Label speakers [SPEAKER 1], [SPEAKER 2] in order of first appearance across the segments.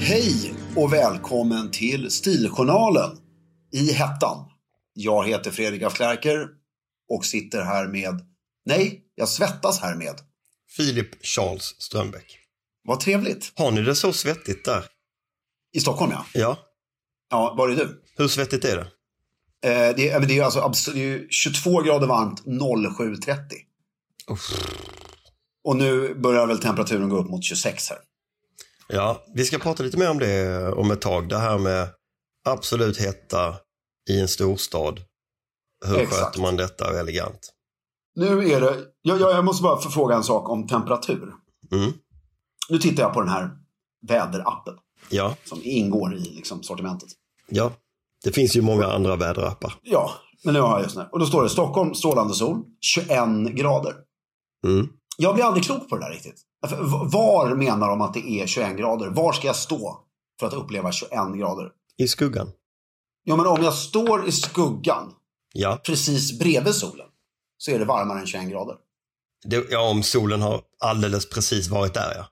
[SPEAKER 1] Hej och välkommen till Stiljournalen i hettan. Jag heter Fredrik af Klerker och sitter här med, nej, jag svettas här med.
[SPEAKER 2] Filip Charles Strömbäck.
[SPEAKER 1] Vad trevligt.
[SPEAKER 2] Har ni det så svettigt där?
[SPEAKER 1] I Stockholm ja.
[SPEAKER 2] Ja.
[SPEAKER 1] Ja, var är du?
[SPEAKER 2] Hur svettigt är det?
[SPEAKER 1] Eh, det, är, men det är alltså abs- det är ju 22 grader varmt 07.30. Och nu börjar väl temperaturen gå upp mot 26 här.
[SPEAKER 2] Ja, vi ska prata lite mer om det om ett tag. Det här med absolut hetta i en storstad. Hur
[SPEAKER 1] Exakt.
[SPEAKER 2] sköter man detta elegant?
[SPEAKER 1] Nu är det, jag, jag, jag måste bara få fråga en sak om temperatur.
[SPEAKER 2] Mm.
[SPEAKER 1] Nu tittar jag på den här väderappen
[SPEAKER 2] Ja,
[SPEAKER 1] som ingår i liksom, sortimentet.
[SPEAKER 2] ja. Det finns ju många andra väderappar.
[SPEAKER 1] Ja, men nu har jag just nu. Och då står det Stockholm, strålande sol, 21 grader.
[SPEAKER 2] Mm.
[SPEAKER 1] Jag blir aldrig klok på det där riktigt. Alltså, v- Var menar de att det är 21 grader? Var ska jag stå för att uppleva 21 grader?
[SPEAKER 2] I skuggan.
[SPEAKER 1] Ja, men om jag står i skuggan
[SPEAKER 2] Ja,
[SPEAKER 1] precis bredvid solen så är det varmare än 21 grader.
[SPEAKER 2] det, ja om solen har alldeles precis varit där ja.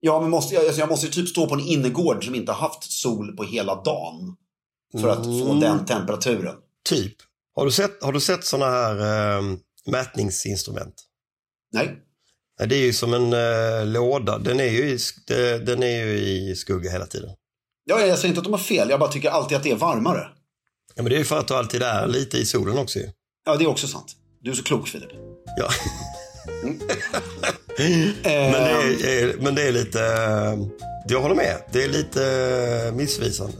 [SPEAKER 1] Ja, men måste, jag, alltså, jag måste ju typ stå på en innergård som inte har haft sol på hela dagen för att få
[SPEAKER 2] Mm.
[SPEAKER 1] den temperaturen.
[SPEAKER 2] Typ. Har du sett, har du sett sådana här eh, mätningsinstrument?
[SPEAKER 1] Nej,
[SPEAKER 2] Nej, det är ju som en eh, låda. Den är, ju i, sk- de- den är ju i skugga hela tiden.
[SPEAKER 1] ja, jag säger inte att de har fel. Jag bara tycker alltid att det är varmare.
[SPEAKER 2] Ja, men det är ju för att du alltid är lite i solen också ju.
[SPEAKER 1] Ja, det är också sant. Du är så klok, Filip.
[SPEAKER 2] Ja.
[SPEAKER 1] Eh,
[SPEAKER 2] Men, det är, är, men det är lite... eh, Jag håller med. Det är lite eh, missvisande.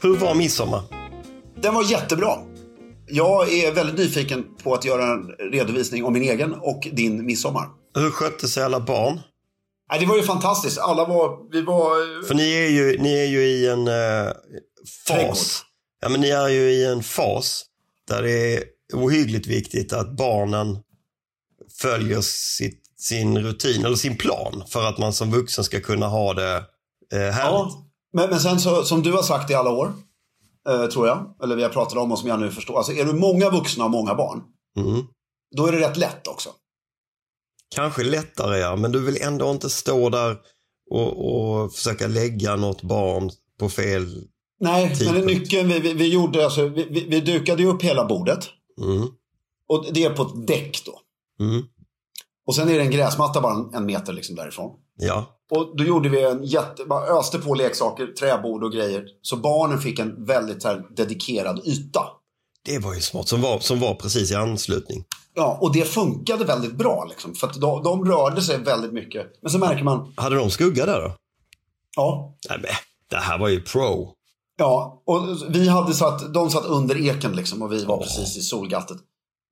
[SPEAKER 2] Hur var midsommar?
[SPEAKER 1] Den var jättebra. Jag är väldigt nyfiken på att göra en redovisning om min egen och din midsommar.
[SPEAKER 2] Hur skötte sig alla barn?
[SPEAKER 1] Nej, det var ju fantastiskt. Alla var... Vi var...
[SPEAKER 2] För ni är ju, ni är ju i en eh,
[SPEAKER 1] Trädgård.
[SPEAKER 2] fas. Ja, men ni är ju i en fas där det är ohyggligt viktigt att barnen följer sitt, sin rutin eller sin plan för att man som vuxen ska kunna ha det eh, härligt.
[SPEAKER 1] Ja. Men, men sen så, som du har sagt i alla år, eh, tror jag, eller vi har pratat om och som jag nu förstår. Alltså är du många vuxna och många barn,
[SPEAKER 2] Mm.
[SPEAKER 1] då är det rätt lätt också.
[SPEAKER 2] Kanske lättare ja, men du vill ändå inte stå där och, och försöka lägga något barn på fel...
[SPEAKER 1] Nej, men
[SPEAKER 2] Tidpunkt.
[SPEAKER 1] nyckeln vi, vi, vi gjorde, alltså, vi, vi, vi dukade ju upp hela bordet.
[SPEAKER 2] Mm.
[SPEAKER 1] Och det är på ett däck då.
[SPEAKER 2] Mm.
[SPEAKER 1] Och sen är det en gräsmatta bara en, en meter liksom därifrån.
[SPEAKER 2] Ja,
[SPEAKER 1] Och då gjorde vi en jätte, bara öste på leksaker, träbord och grejer. Så barnen fick en väldigt så här, dedikerad yta.
[SPEAKER 2] det var ju smart som var, som var precis i anslutning.
[SPEAKER 1] Ja, och det funkade väldigt bra liksom. För att de, de rörde sig väldigt mycket. Men så märker man,
[SPEAKER 2] Hade de skugga där då?
[SPEAKER 1] ja.
[SPEAKER 2] Nej, men det här var ju pro.
[SPEAKER 1] Ja, och vi hade satt, de satt under eken liksom och vi var precis i solgattet.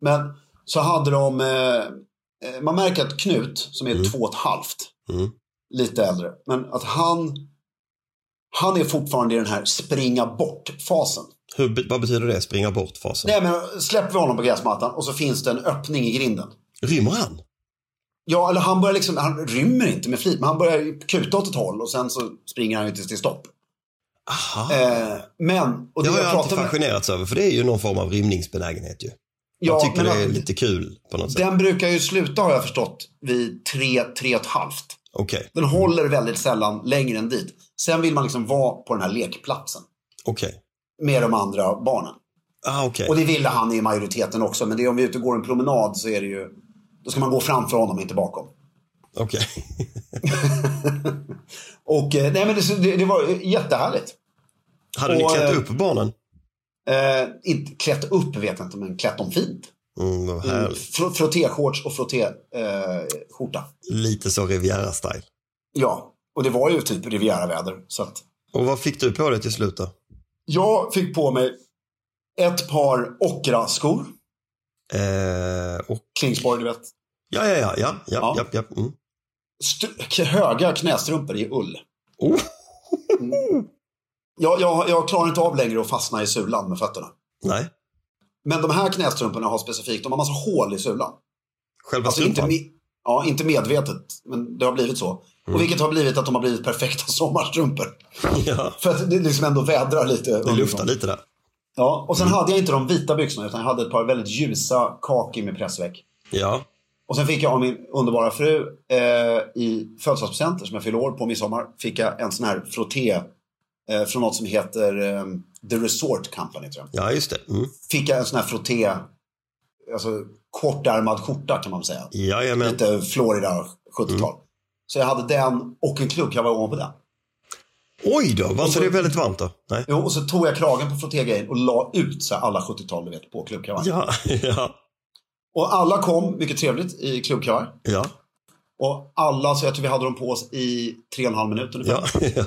[SPEAKER 1] Men så hade de, eh, eh, man märker att Knut, som är två och ett halvt,
[SPEAKER 2] Mm.
[SPEAKER 1] lite äldre, men att han, Han är fortfarande i den här springa bort-fasen.
[SPEAKER 2] Hur, vad betyder det, springa bort-fasen?
[SPEAKER 1] Nej, men släpper vi honom på gräsmattan och så finns det en öppning i grinden.
[SPEAKER 2] Rymmer han?
[SPEAKER 1] Ja, eller han börjar liksom, han rymmer inte med flit, men han börjar ju kuta åt ett håll och sen så springer han ju tills det är stopp.
[SPEAKER 2] Aha.
[SPEAKER 1] Eh, men, och
[SPEAKER 2] det
[SPEAKER 1] det
[SPEAKER 2] har
[SPEAKER 1] jag,
[SPEAKER 2] jag alltid
[SPEAKER 1] pratar med,
[SPEAKER 2] fascinerats över, för det är ju någon form av rymningsbenägenhet ju.
[SPEAKER 1] Ja,
[SPEAKER 2] jag tycker
[SPEAKER 1] men
[SPEAKER 2] det är
[SPEAKER 1] han-
[SPEAKER 2] lite kul på något sätt.
[SPEAKER 1] den brukar ju sluta har jag förstått vid tre, tre och ett halvt.
[SPEAKER 2] Okej,
[SPEAKER 1] Den håller väldigt sällan längre än dit. Sen vill man liksom vara på den här lekplatsen
[SPEAKER 2] okej.
[SPEAKER 1] med de andra barnen.
[SPEAKER 2] Ah, okej.
[SPEAKER 1] Och det ville han i majoriteten också, men det är om vi är ute och går en promenad så är det ju, då ska man gå framför honom, inte bakom.
[SPEAKER 2] Okej.
[SPEAKER 1] Och eh, nej, men det, det, det var jättehärligt.
[SPEAKER 2] Hade ni
[SPEAKER 1] Och,
[SPEAKER 2] klätt
[SPEAKER 1] eh,
[SPEAKER 2] upp barnen?
[SPEAKER 1] Eh, inte, klätt upp vet jag inte, men klätt dem fint.
[SPEAKER 2] Mm, vad härligt.
[SPEAKER 1] Fr- Frottéshorts och eh, frottéskjorta.
[SPEAKER 2] Lite så Riviera-style.
[SPEAKER 1] ja, och det var ju typ Riviera-väder. Så att
[SPEAKER 2] Och vad fick du på dig till slut då?
[SPEAKER 1] jag fick på mig ett par ockraskor.
[SPEAKER 2] Eh, och,
[SPEAKER 1] Klingsborg, du vet.
[SPEAKER 2] ja, ja, ja, ja, ja,
[SPEAKER 1] Ja.
[SPEAKER 2] ja, ja. Mm.
[SPEAKER 1] St- k- höga knästrumpor i ull.
[SPEAKER 2] Oh.
[SPEAKER 1] Jag, jag, jag klarar inte av längre att fastna i sulan med fötterna.
[SPEAKER 2] Nej,
[SPEAKER 1] Men de här knästrumporna har specifikt, de har massa hål i sulan.
[SPEAKER 2] själva
[SPEAKER 1] Alltså inte,
[SPEAKER 2] strumpan?
[SPEAKER 1] me- ja, inte medvetet, men det har blivit så.
[SPEAKER 2] Mm.
[SPEAKER 1] Och vilket har blivit att de har blivit perfekta sommarstrumpor.
[SPEAKER 2] ja,
[SPEAKER 1] För att det liksom ändå vädrar lite.
[SPEAKER 2] det
[SPEAKER 1] underifrån.
[SPEAKER 2] luftar lite Mm. där.
[SPEAKER 1] Ja, och sen hade jag inte de vita byxorna utan jag hade ett par väldigt ljusa kaki med pressväck.
[SPEAKER 2] Ja,
[SPEAKER 1] Och sen fick jag av min underbara fru eh, i födelsedagspresent, som jag fyller år på midsommar, fick jag en sån här frotté eh, från något som heter eh, The Resort Company tror jag.
[SPEAKER 2] ja just det. Mm.
[SPEAKER 1] Fick jag en sån här frotté, alltså kortärmad skjorta kan man säga.
[SPEAKER 2] Jajamän.
[SPEAKER 1] Lite Florida 70-tal.
[SPEAKER 2] Mm.
[SPEAKER 1] Så jag hade den och en klubbkavaj ovanpå den.
[SPEAKER 2] Oj då, var inte
[SPEAKER 1] så-
[SPEAKER 2] det väldigt varmt då? Nej.
[SPEAKER 1] Jo, och så tog jag kragen på frottégrejen och la ut så här alla 70-tal du vet på klubbkavajen.
[SPEAKER 2] Ja, ja,
[SPEAKER 1] Och alla kom, mycket trevligt, i klubbkavaj.
[SPEAKER 2] ja,
[SPEAKER 1] Och alla, så jag tror vi hade dem på oss i tre och en halv minut ungefär.
[SPEAKER 2] ja, ja.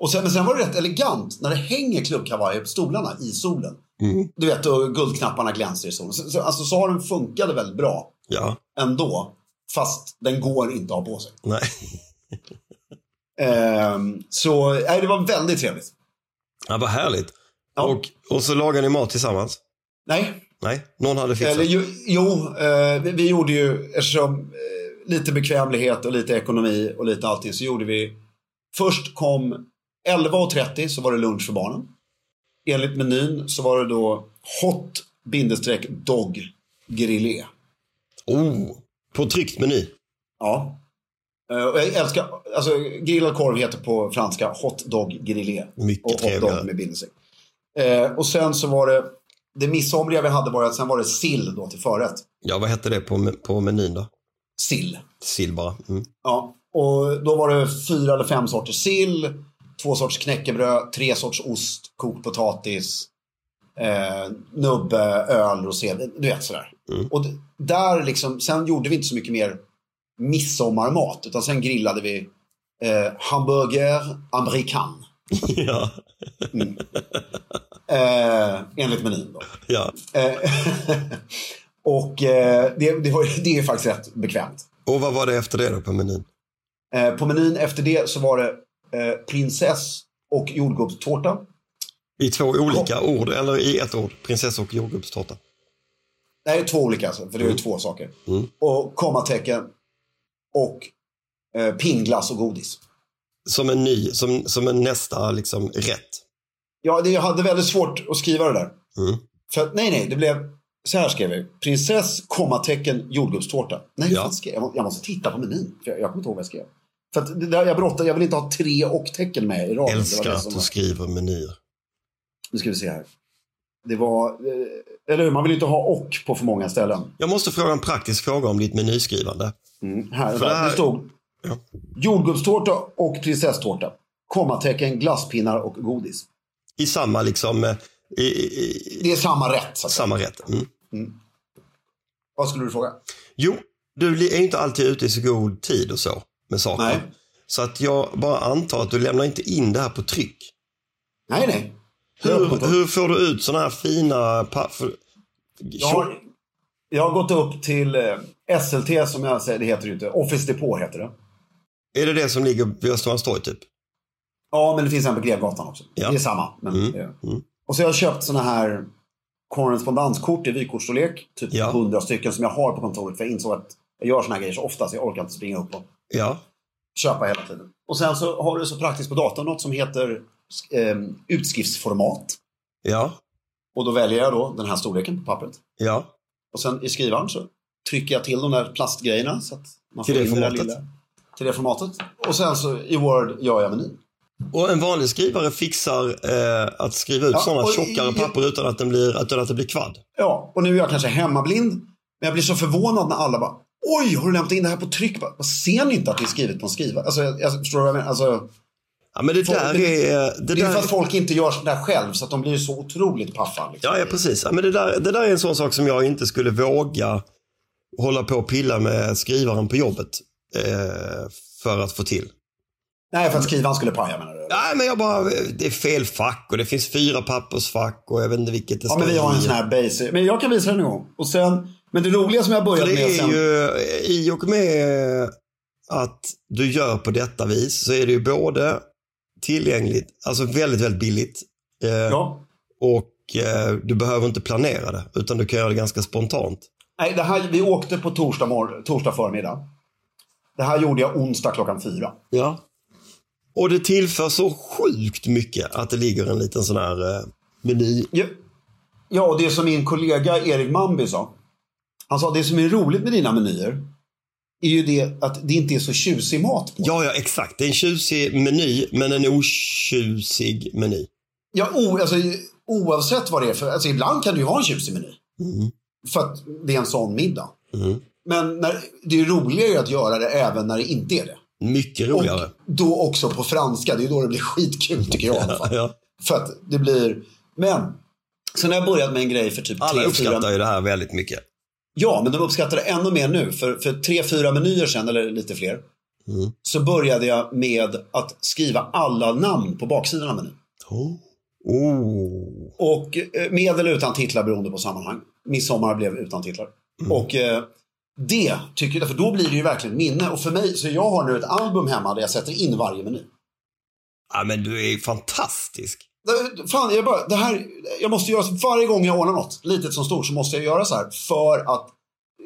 [SPEAKER 1] Och sen, men sen var det rätt elegant när det hänger klubbkavajer på stolarna i solen.
[SPEAKER 2] Mm.
[SPEAKER 1] Du vet, och guldknapparna glänser i solen. Så, så, alltså Saren funkade väldigt bra
[SPEAKER 2] ja.
[SPEAKER 1] ändå, fast den går inte att ha på sig.
[SPEAKER 2] Nej.
[SPEAKER 1] Ehm, så nej, det var väldigt trevligt.
[SPEAKER 2] Ja, vad härligt.
[SPEAKER 1] Ja.
[SPEAKER 2] Och, och så lagar ni mat tillsammans?
[SPEAKER 1] Nej,
[SPEAKER 2] Nej, någon hade fixat.
[SPEAKER 1] eller jo, jo eh, vi, vi gjorde ju, eftersom eh, lite bekvämlighet och lite ekonomi och lite allting, så gjorde vi, först kom 11.30 så var det lunch för barnen. Enligt menyn så var det då hot bindestreck dog grillé.
[SPEAKER 2] Oh, på tryckt meny.
[SPEAKER 1] Ja. Eh, och jag älskar, alltså grillad korv heter på franska hot dog grillé.
[SPEAKER 2] Mycket
[SPEAKER 1] och hot
[SPEAKER 2] trevligare.
[SPEAKER 1] dog med bindestreck. Eh, och sen så var det, det midsomriga vi hade var att sen var det sill då till förrätt.
[SPEAKER 2] Ja, vad hette det på, me- på menyn då?
[SPEAKER 1] Sill.
[SPEAKER 2] Sill bara. Mm.
[SPEAKER 1] Ja, och då var det fyra eller fem sorters sill, två sorters knäckebröd, tre sorts ost, kokt potatis, eh, nubbe, öl, rosé, du vet sådär. Och d- där liksom, sen gjorde vi inte så mycket mer midsommarmat, utan sen grillade vi eh, hamburger amerikan.
[SPEAKER 2] ja,
[SPEAKER 1] Eh, enligt menyn då.
[SPEAKER 2] ja.
[SPEAKER 1] Eh, och eh, det, det, var, det är faktiskt rätt bekvämt.
[SPEAKER 2] Och vad var det efter det då på menyn?
[SPEAKER 1] Eh, på menyn efter det så var det eh, prinsess och jordgubbstårta.
[SPEAKER 2] I två olika ord, eller i ett ord. Prinsessa och jordgubbstårta.
[SPEAKER 1] Nej, två olika alltså, för det är ju
[SPEAKER 2] Mm.
[SPEAKER 1] två saker. Och kommatecken och eh, pingglass och godis.
[SPEAKER 2] Som en ny, som, som en nästa liksom rätt.
[SPEAKER 1] Ja, det, jag hade väldigt svårt att skriva det där.
[SPEAKER 2] Mm.
[SPEAKER 1] För att, nej, nej, det blev... Så här skrev jag. Prinsess, kommatecken, jordgubbstårta. Nej,
[SPEAKER 2] Ja.
[SPEAKER 1] ja. skrev, jag, må- jag måste titta på menyn. För jag, jag kommer inte ihåg vad jag skrev. För att det där, jag brottade, jag vill inte ha tre och-tecken med i raden. Det var
[SPEAKER 2] Älskar
[SPEAKER 1] det
[SPEAKER 2] att
[SPEAKER 1] som
[SPEAKER 2] du
[SPEAKER 1] var-
[SPEAKER 2] skriver menyer.
[SPEAKER 1] Nu ska vi se här. Det var, eh, eller hur, man vill ju inte ha och på för många ställen.
[SPEAKER 2] Jag måste fråga en praktisk fråga om ditt menyskrivande.
[SPEAKER 1] Mm, här,
[SPEAKER 2] För
[SPEAKER 1] det,
[SPEAKER 2] det här-
[SPEAKER 1] det stod
[SPEAKER 2] Ja.
[SPEAKER 1] jordgubbstårta och prinsesstårta. Kommatecken, glasspinnar och godis.
[SPEAKER 2] I samma liksom, eh, i, i, i
[SPEAKER 1] Det är samma rätt. Så att säga.
[SPEAKER 2] samma rätt. Mm.
[SPEAKER 1] Vad skulle du fråga?
[SPEAKER 2] Jo, du li- är ju inte alltid ute i så god tid och så med saker.
[SPEAKER 1] Nej.
[SPEAKER 2] Så att jag bara antar att du lämnar inte in det här på tryck.
[SPEAKER 1] Nej, nej.
[SPEAKER 2] Hur, hur får du ut sådana här fina... Pa- för,
[SPEAKER 1] Jag har, jag har gått upp till eh, SLT som jag säger, det heter ju inte. Office Depot heter det.
[SPEAKER 2] Är det det som ligger vid Östermalms torg typ?
[SPEAKER 1] Ja, men det finns en på Grevgatan också.
[SPEAKER 2] Ja. Mm.
[SPEAKER 1] Det är samma. Men, det är- Och så har jag köpt såna här korrespondenskort i vykortsstorlek. Typ
[SPEAKER 2] Ja.
[SPEAKER 1] 100 stycken som jag har på kontoret. För jag insåg att jag gör såna här grejer så ofta så jag orkar inte springa upp och
[SPEAKER 2] Ja,
[SPEAKER 1] köpa hela tiden. Och sen så har du så praktiskt på datorn något som heter eh, utskriftsformat.
[SPEAKER 2] ja,
[SPEAKER 1] Och då väljer jag då den här storleken på pappret.
[SPEAKER 2] ja.
[SPEAKER 1] Och sen i skrivaren så trycker jag till de där plastgrejerna. Så att man
[SPEAKER 2] Till
[SPEAKER 1] får
[SPEAKER 2] det
[SPEAKER 1] in där
[SPEAKER 2] formatet.
[SPEAKER 1] till det formatet. Och sen så i Word gör jag menyn.
[SPEAKER 2] Och en vanlig skrivare fixar eh, att skriva ut
[SPEAKER 1] Ja,
[SPEAKER 2] sådana
[SPEAKER 1] och-
[SPEAKER 2] tjockare papper utan att, den blir, utan att det blir kvadd.
[SPEAKER 1] Ja, och nu är jag kanske hemmablind. Men jag blir så förvånad när alla bara Oj, har du lämnat in det här på tryck? Bara, "Vad Ser ni inte att det är skrivet på en skriva? Alltså, jag, jag förstår du vad jag menar? Alltså,
[SPEAKER 2] Ja, men det
[SPEAKER 1] Folk-
[SPEAKER 2] där är... Det,
[SPEAKER 1] det är ju
[SPEAKER 2] där
[SPEAKER 1] för att folk inte gör sådär själv så att de blir så otroligt paffa. Liksom.
[SPEAKER 2] Ja, ja precis. Ja, men det, där, det där är en sån sak som jag inte skulle våga hålla på och pilla med skrivaren på jobbet eh, för att få till.
[SPEAKER 1] Nej, för att skrivaren skulle paja menar du?
[SPEAKER 2] Nej, men jag bara, det är fel fack och det finns fyra pappersfack och jag vet inte vilket det
[SPEAKER 1] Ja, men vi har en sån här basic. Men jag kan visa den en gång. Och sen, men det roliga som jag började med
[SPEAKER 2] Det är
[SPEAKER 1] sen.
[SPEAKER 2] ju, i och med att du gör på detta vis så är det ju både tillgängligt, alltså väldigt, väldigt billigt eh,
[SPEAKER 1] Ja.
[SPEAKER 2] och eh, du behöver inte planera det utan du kan göra det ganska spontant.
[SPEAKER 1] Nej, det här, vi åkte på torsdag, mor- torsdag förmiddag. Det här gjorde jag onsdag klockan fyra.
[SPEAKER 2] Ja. Och det tillför så sjukt mycket att det ligger en liten sån här eh, meny.
[SPEAKER 1] Ja, ja och det som min kollega Erik Mambi sa. Han sa det som är roligt med dina menyer är ju det att det inte är så tjusig mat på.
[SPEAKER 2] Ja, ja, exakt. Det är en tjusig meny, men en otjusig meny.
[SPEAKER 1] Ja, o, alltså, oavsett vad det är för, alltså, ibland kan du ju ha en tjusig meny.
[SPEAKER 2] Mm.
[SPEAKER 1] För att det är en sån middag. Men när, det är roligare ju att göra det även när det inte är det.
[SPEAKER 2] Mycket roligare.
[SPEAKER 1] Då också på franska, det är då det blir skitkul tycker jag i alla fall.
[SPEAKER 2] Ja.
[SPEAKER 1] För att det blir, men. Sen har jag börjat med en grej för typ
[SPEAKER 2] Alla
[SPEAKER 1] tre, fyra
[SPEAKER 2] uppskattar ju det här väldigt mycket.
[SPEAKER 1] Ja, men de uppskattar det ännu mer nu. För, för tre, fyra menyer sen, eller lite fler, så började jag med att skriva alla namn på baksidan av menyn.
[SPEAKER 2] Oh. Oh.
[SPEAKER 1] Och eh, med eller utan titlar beroende på sammanhang. Midsommar blev utan titlar. Och eh, det tycker jag, för då blir det ju verkligen minne. Och för mig, så jag har nu ett album hemma där jag sätter in varje meny.
[SPEAKER 2] Ja, men du är ju fantastisk.
[SPEAKER 1] Det- Fan, jag, bara, det här, jag måste göra så varje gång jag ordnar något, litet som stort, så måste jag göra så här. För att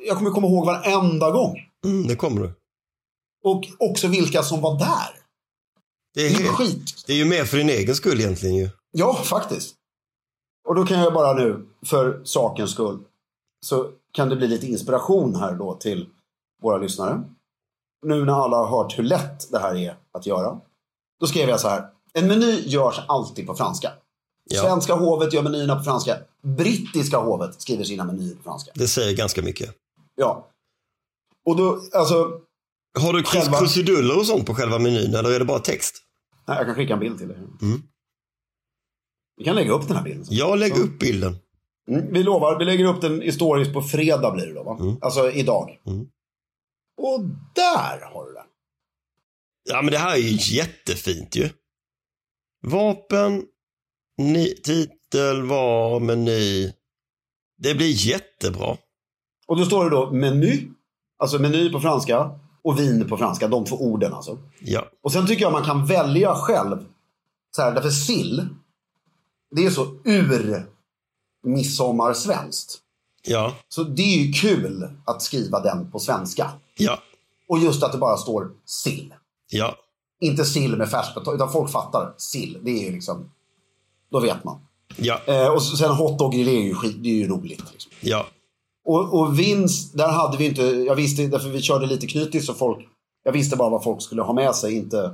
[SPEAKER 1] jag kommer komma ihåg varenda gång.
[SPEAKER 2] Mm, det kommer du.
[SPEAKER 1] Och också vilka som var där.
[SPEAKER 2] Det är,
[SPEAKER 1] Det är
[SPEAKER 2] helt,
[SPEAKER 1] skit.
[SPEAKER 2] det är ju mer för din egen skull egentligen ju.
[SPEAKER 1] Ja, faktiskt. Och då kan jag bara nu, för sakens skull, så kan det bli lite inspiration här då till våra lyssnare. Nu när alla har hört hur lätt det här är att göra. Då skrev jag så här. En meny görs alltid på franska.
[SPEAKER 2] Ja.
[SPEAKER 1] Svenska hovet gör menyerna på franska. Brittiska hovet skriver sina menyer på franska.
[SPEAKER 2] Det säger ganska mycket.
[SPEAKER 1] Ja. Och då, alltså,
[SPEAKER 2] Har du kris-
[SPEAKER 1] Själva-
[SPEAKER 2] krusiduller och sånt på själva menyn eller är det bara text?
[SPEAKER 1] nej, jag kan skicka en bild till dig.
[SPEAKER 2] Mm.
[SPEAKER 1] Vi kan lägga upp den här bilden. sen.
[SPEAKER 2] Jag lägger upp bilden.
[SPEAKER 1] Mm, vi lovar, vi lägger upp den historiskt på fredag blir det då va? Alltså idag.
[SPEAKER 2] Mm.
[SPEAKER 1] Och där har du den.
[SPEAKER 2] Ja, men det här är ju jättefint ju. Vapen, ni, titel, var, meny. Det blir jättebra.
[SPEAKER 1] Och då står det då meny, alltså meny på franska och vin på franska, de två orden alltså.
[SPEAKER 2] Ja,
[SPEAKER 1] Och sen tycker jag man kan välja själv. Så här, därför sill, det är så ur midsommarsvenskt.
[SPEAKER 2] ja,
[SPEAKER 1] Så det är ju kul att skriva den på svenska.
[SPEAKER 2] ja,
[SPEAKER 1] Och just att det bara står sill.
[SPEAKER 2] ja.
[SPEAKER 1] Inte sill med färskpotatis, utan folk fattar. Sill, det är ju liksom, då vet man.
[SPEAKER 2] Ja,
[SPEAKER 1] Eh, och så- sen hotdog, det är ju skit, det är ju roligt. Liksom.
[SPEAKER 2] ja,
[SPEAKER 1] Och, och vinst, där hade vi inte, jag visste, därför vi körde lite knytis så folk, jag visste bara vad folk skulle ha med sig, inte...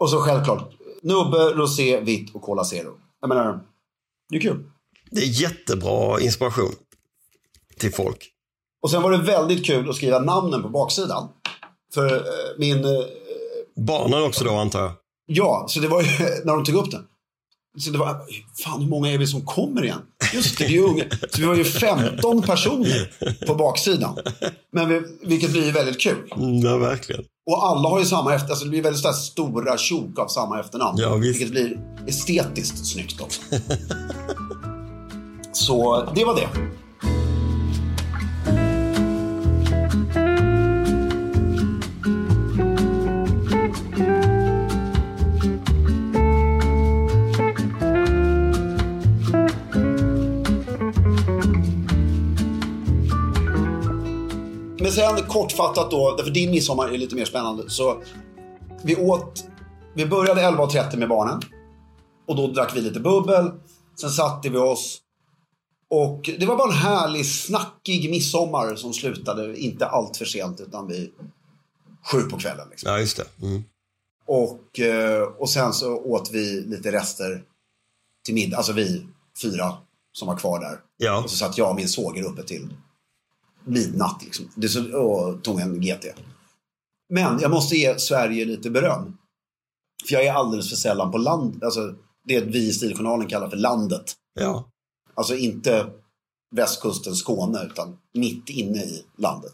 [SPEAKER 1] Och så självklart, nubbe, rosé, vitt och Cola Zero. Jag menar, det är kul.
[SPEAKER 2] det är jättebra inspiration till folk.
[SPEAKER 1] Och sen var det väldigt kul att skriva namnen på baksidan. För eh, min, eh,
[SPEAKER 2] Barnen också då antar jag.
[SPEAKER 1] ja, så det var ju, när de tog upp den. Så det var, fan hur många är vi som kommer igen? Just det, det är ju unga. Så vi var ju 15 personer på baksidan. Men vi, vilket blir ju väldigt kul.
[SPEAKER 2] Mm, Ja, verkligen.
[SPEAKER 1] Och alla har ju samma efternamn, alltså det blir väldigt så här stora tjok av samma efternamn.
[SPEAKER 2] Ja, visst.
[SPEAKER 1] Vilket blir estetiskt snyggt också. så det var det. sen kortfattat då, därför din midsommar är lite mer spännande. Så vi åt, vi började 11.30 med barnen. Och då drack vi lite bubbel. Sen satte vi oss. Och det var bara en härlig snackig midsommar som slutade inte allt för sent utan vid sju på kvällen. Liksom.
[SPEAKER 2] Ja, just det. Mm.
[SPEAKER 1] Och, eh, och sen så åt vi lite rester till middag, alltså vi fyra som var kvar där.
[SPEAKER 2] Ja.
[SPEAKER 1] Och så satt jag och min svåger uppe till midnatt liksom. Det så, och tog en GT. Men jag måste ge Sverige lite beröm. För jag är alldeles för sällan på land, alltså det vi i Stiljournalen kallar för landet.
[SPEAKER 2] Ja.
[SPEAKER 1] Alltså inte västkusten, Skåne, utan mitt inne i landet.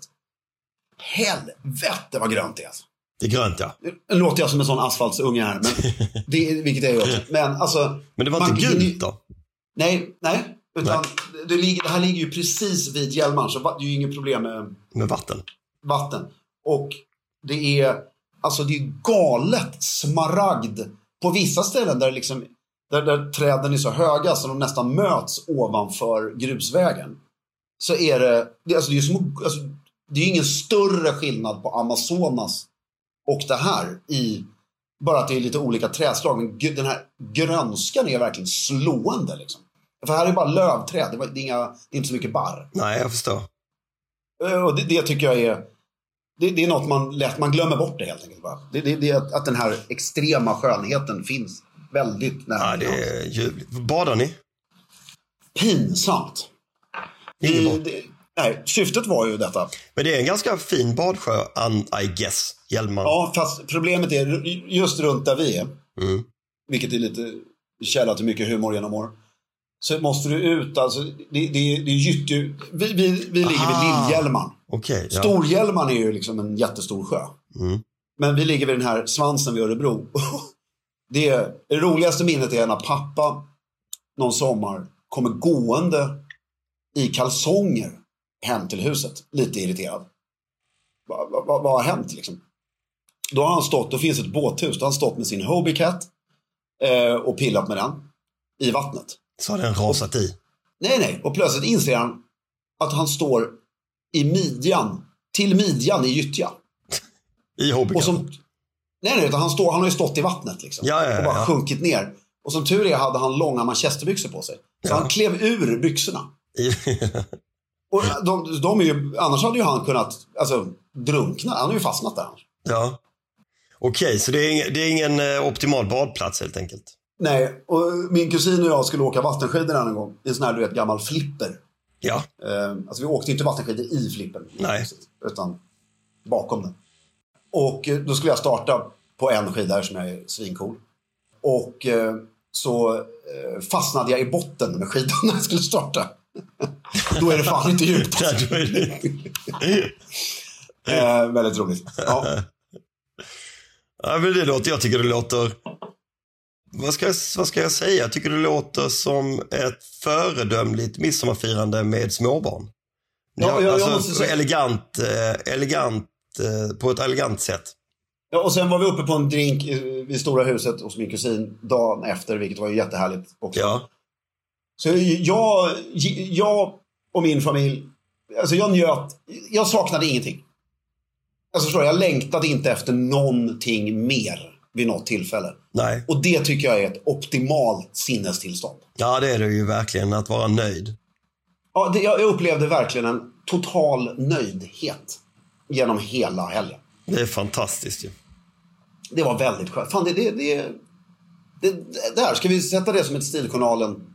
[SPEAKER 1] Helvete vad grönt det är alltså.
[SPEAKER 2] Det är grönt, ja.
[SPEAKER 1] Nu låter jag som en sån asfaltsunge här, men det, är- vilket jag är också. Men alltså...
[SPEAKER 2] Men det var
[SPEAKER 1] man
[SPEAKER 2] inte
[SPEAKER 1] hinner ju-
[SPEAKER 2] gult då?
[SPEAKER 1] Nej, nej. Utan Det, ligger, det här ligger ju precis vid Hjälmaren, så va- det är ju inget problem med
[SPEAKER 2] Med vatten?
[SPEAKER 1] vatten. Och det är, alltså det är galet smaragd på vissa ställen där liksom, där, där träden är så höga så de nästan möts ovanför grusvägen. Så är det, det, alltså det är ju små, alltså det är ju ingen större skillnad på Amazonas och det här i, bara att det är lite olika trädslag. Men gud, den här grönskan är verkligen slående liksom. För här är bara lövträd, det, var- det, är inga, det är inte så mycket barr.
[SPEAKER 2] Nej, jag förstår.
[SPEAKER 1] Eh, Och det, det tycker jag är... Det, det är något man lätt... Man glömmer bort det helt enkelt. Va? Det, det, det, är att, att den här extrema skönheten finns väldigt nära.
[SPEAKER 2] Ja, det är ljuvligt. Badar ni?
[SPEAKER 1] Pinsamt.
[SPEAKER 2] Inget
[SPEAKER 1] Det,
[SPEAKER 2] bad.
[SPEAKER 1] det, nej, syftet var ju detta.
[SPEAKER 2] Men det är en ganska fin badsjö, and I guess, Hjälmar.
[SPEAKER 1] Ja, fast problemet är ru- just runt där vi är,
[SPEAKER 2] Mm.
[SPEAKER 1] vilket är lite källa till mycket humor genom år. Så måste du ut, alltså, det, det, det är gyttju... Vi, vi, vi ligger
[SPEAKER 2] Ah.
[SPEAKER 1] vid Lillhjälman.
[SPEAKER 2] Okej, ja.
[SPEAKER 1] Storhjälman är ju liksom en jättestor sjö.
[SPEAKER 2] Mm.
[SPEAKER 1] Men vi ligger vid den här svansen vid Örebro. Det, är, det roligaste minnet är när pappa någon sommar kommer gående i kalsonger hem till huset. Lite irriterad. Va- va- va- Vad har hänt liksom? Då har han stått, då finns ett båthus, då har han stått med sin Hobie Cat eh, och pillat med den i vattnet.
[SPEAKER 2] Så har den rasat i.
[SPEAKER 1] Nej, nej. Och plötsligt inser han att han står i midjan, till midjan i gyttja.
[SPEAKER 2] I
[SPEAKER 1] Och
[SPEAKER 2] Hobbykatten.
[SPEAKER 1] som, nej, nej, utan han, står, han har ju stått i vattnet liksom.
[SPEAKER 2] Ja, ja, ja,
[SPEAKER 1] och bara
[SPEAKER 2] ja.
[SPEAKER 1] sjunkit ner. Och som tur är hade han långa manchesterbyxor på sig. Så
[SPEAKER 2] Ja.
[SPEAKER 1] han klev ur byxorna.
[SPEAKER 2] I-
[SPEAKER 1] Och de, de är ju, annars hade ju han kunnat alltså, drunkna. Han har ju fastnat där.
[SPEAKER 2] ja. Okej, så det är, ing- det är ingen eh, optimal badplats helt enkelt.
[SPEAKER 1] Nej, och min kusin och jag skulle åka vattenskidor en gång. I en sån här, du vet, gammal flipper.
[SPEAKER 2] Ja,
[SPEAKER 1] Eh, alltså vi åkte inte vattenskidor i flippen.
[SPEAKER 2] Nej.
[SPEAKER 1] Utan bakom den. Och eh, då skulle jag starta på en skida eftersom jag är svincool. Och eh, så eh, fastnade jag i botten med skidan när jag skulle starta. då är det fan inte djupt. alltså.
[SPEAKER 2] där då är det.
[SPEAKER 1] Eh, väldigt roligt. Ja.
[SPEAKER 2] Ja, men det låter, jag tycker det låter... Vad ska, jag, vad ska jag säga? Jag tycker det låter som ett föredömligt midsommarfirande med småbarn.
[SPEAKER 1] Ja, jag- jag
[SPEAKER 2] alltså,
[SPEAKER 1] måste säga-
[SPEAKER 2] elegant, eh, elegant, eh, på ett elegant sätt.
[SPEAKER 1] Ja, och sen var vi uppe på en drink eh, vid Stora huset hos min kusin dagen efter, vilket var ju jättehärligt också.
[SPEAKER 2] Ja,
[SPEAKER 1] Så jag, jag och min familj, alltså jag njöt, jag saknade ingenting. Alltså förstår du, jag längtade inte efter någonting mer vid något tillfälle.
[SPEAKER 2] nej.
[SPEAKER 1] Och det tycker jag är ett optimalt sinnestillstånd.
[SPEAKER 2] Ja, det är det ju verkligen. Att vara nöjd.
[SPEAKER 1] Ja, det, jag jag upplevde verkligen en total nöjdhet genom hela helgen.
[SPEAKER 2] Det är fantastiskt ju.
[SPEAKER 1] Det var väldigt skönt. Fan, det, det, det, det, det där, ska vi sätta det som ett Stiljournalen?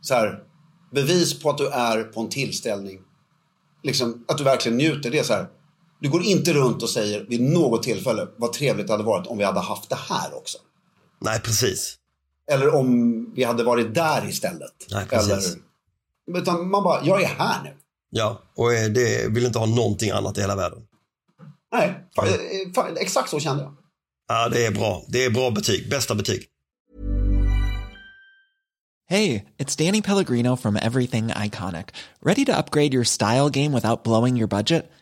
[SPEAKER 1] Så här, bevis på att du är på en tillställning. Liksom, att du verkligen njuter. Det är så här, du går inte runt och säger vid något tillfälle vad trevligt det hade varit om vi hade haft det här också.
[SPEAKER 2] Nej, precis.
[SPEAKER 1] Eller om vi hade varit där istället.
[SPEAKER 2] Nej, precis.
[SPEAKER 1] Eller, utan man bara, jag är här nu.
[SPEAKER 2] Ja, och eh, det vill inte ha någonting annat i hela världen.
[SPEAKER 1] Nej, fa- eh, fa- exakt så kände jag.
[SPEAKER 2] Ja, det är bra. Det är bra betyg. Bästa betyg.
[SPEAKER 3] Hey, it's Danny Pellegrino from Everything Iconic. Ready to upgrade your style game without blowing your budget?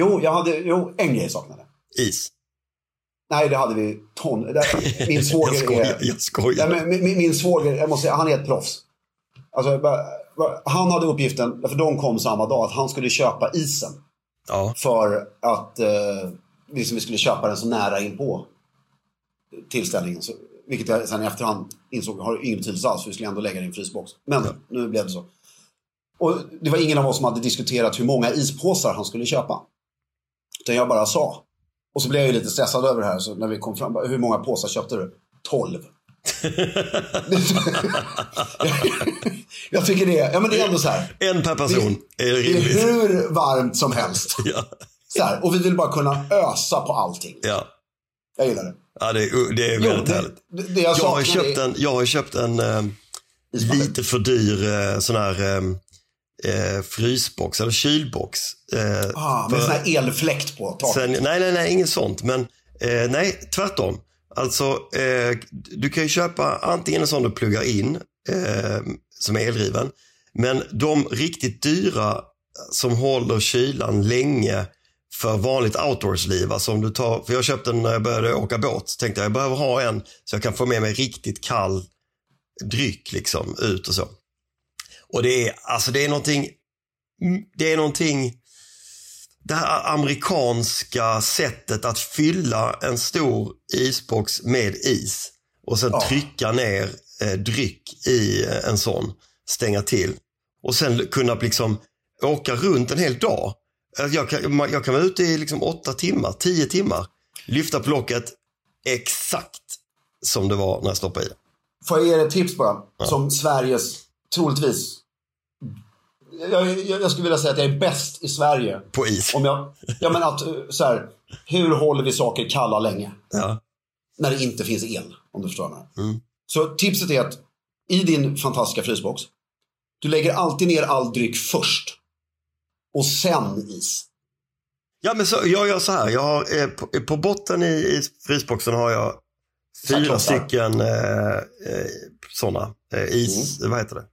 [SPEAKER 1] Jo, jag hade, jo, en grej saknade.
[SPEAKER 2] Is.
[SPEAKER 1] Nej, det hade vi ton. där- Min svåger
[SPEAKER 2] Jag skojar,
[SPEAKER 1] är...
[SPEAKER 2] jag skojar.
[SPEAKER 1] Nej, men min, min, min svåger, jag måste säga, han är ett proffs. Alltså, jag bara- bara- han hade uppgiften, för de kom samma dag, att han skulle köpa isen.
[SPEAKER 2] Ja,
[SPEAKER 1] För att eh, liksom, vi skulle köpa den så nära in på tillställningen. Så, vilket jag sen i efterhand insåg har ingen betydelse alls, för vi skulle ändå lägga det i en frysbox. Men nu blev det så. Och det var ingen av oss som hade diskuterat hur många ispåsar han skulle köpa. Utan jag bara sa. Och så blev jag ju lite stressad över det här, så när vi kom fram, bara, hur många påsar köpte du? 12. jag tycker det, är- ja men det är ändå så här.
[SPEAKER 2] en per person är
[SPEAKER 1] Det är
[SPEAKER 2] rimligt.
[SPEAKER 1] hur varmt som helst.
[SPEAKER 2] Ja,
[SPEAKER 1] Så här, och vi vill bara kunna ösa på allting.
[SPEAKER 2] ja.
[SPEAKER 1] Jag gillar det.
[SPEAKER 2] ja det, är, det är väldigt härligt.
[SPEAKER 1] det, det jag,
[SPEAKER 2] Jag har
[SPEAKER 1] saknar
[SPEAKER 2] ju köpt
[SPEAKER 1] är-
[SPEAKER 2] en, jag har ju köpt en eh, lite för dyr eh, sån här eh, eh, frysbox eller kylbox. Eh,
[SPEAKER 1] Ah, med
[SPEAKER 2] för-
[SPEAKER 1] sån här elfläkt på taket.
[SPEAKER 2] Sen, nej, nej, nej, inget sånt. Men eh, nej, tvärtom. Alltså, eh, du kan ju köpa antingen en sån du pluggar in, eh, som är eldriven. Men de riktigt dyra eh, som håller kylan länge för vanligt outdoorsliv. Alltså om du tar, för jag köpte den när jag började åka båt. Tänkte jag, jag behöver ha en så jag kan få med mig riktigt kall dryck liksom ut och så. Och det är, alltså det är någonting, det är någonting det här amerikanska sättet att fylla en stor isbox med is och sen trycka ner eh, dryck i eh, en sån, stänga till och sen kunna liksom åka runt en hel dag. Eh, Jag kan, man- jag kan vara ute i liksom åtta timmar, tio timmar, lyfta på locket exakt som det var när jag stoppade i.
[SPEAKER 1] Får jag ge er ett tips bara? Som Sveriges, troligtvis. Jag, jag, jag skulle vilja säga att jag är bäst i Sverige.
[SPEAKER 2] På is.
[SPEAKER 1] Om jag, ja men att eh, så här, hur håller vi saker kalla länge?
[SPEAKER 2] Ja.
[SPEAKER 1] När det inte finns el, om du förstår mig.
[SPEAKER 2] Mm.
[SPEAKER 1] Så tipset är att i din fantastiska frysbox, du lägger alltid ner all dryck först. Och sen is.
[SPEAKER 2] Ja, men så, jag gör så här. Jag har, eh, på, på botten i, i frysboxen har jag fyra
[SPEAKER 1] Klossar.
[SPEAKER 2] stycken eh, eh, sådana eh, is... Vad heter det?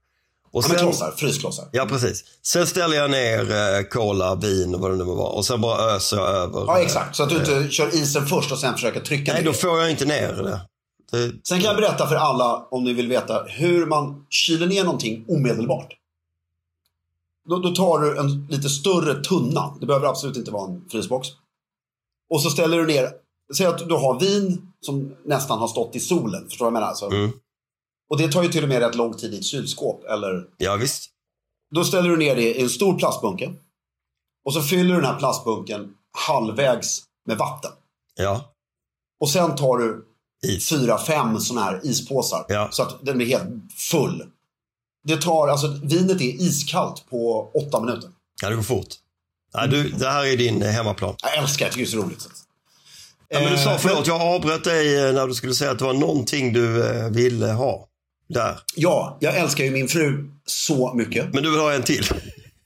[SPEAKER 2] Och
[SPEAKER 1] Mm. Ja, men
[SPEAKER 2] sen-
[SPEAKER 1] klossar, frysklossar.
[SPEAKER 2] ja, precis. Sen ställer jag ner eh, cola, vin och vad det nu må vara. Och sen bara öser jag över.
[SPEAKER 1] Ja, exakt. Så att du inte kör isen först och sen försöker trycka
[SPEAKER 2] Eh. Nej,
[SPEAKER 1] ner.
[SPEAKER 2] då får jag inte ner det. det
[SPEAKER 1] Sen kan jag berätta för alla, om ni vill veta, hur man kyler ner någonting omedelbart. Då, då tar du en lite större tunna. Det behöver absolut inte vara en frysbox. Och så ställer du ner, säg att du har vin som nästan har stått i solen. Förstår du vad jag menar? Så,
[SPEAKER 2] Mm.
[SPEAKER 1] Och det tar ju till och med rätt lång tid i ett kylskåp. Eller,
[SPEAKER 2] ja, visst.
[SPEAKER 1] då ställer du ner det i en stor plastbunke. Och så fyller du den här plastbunken halvvägs med vatten.
[SPEAKER 2] Ja,
[SPEAKER 1] Och sen tar du
[SPEAKER 2] is.
[SPEAKER 1] fyra, fem sådana här ispåsar.
[SPEAKER 2] Ja.
[SPEAKER 1] Så att den blir helt full. Det tar, alltså vinet är iskallt på åtta minuter.
[SPEAKER 2] Ja, det går fort. Ja, du,
[SPEAKER 1] Mm.
[SPEAKER 2] det här är din eh, hemmaplan.
[SPEAKER 1] Jag älskar det, jag tycker det är så roligt.
[SPEAKER 2] Ja, men du sa,
[SPEAKER 1] Eh,
[SPEAKER 2] förlåt, jag avbröt dig eh, när du skulle säga att det var någonting du eh, ville ha. Där.
[SPEAKER 1] Ja, jag älskar ju min fru så mycket.
[SPEAKER 2] Men du vill ha en till?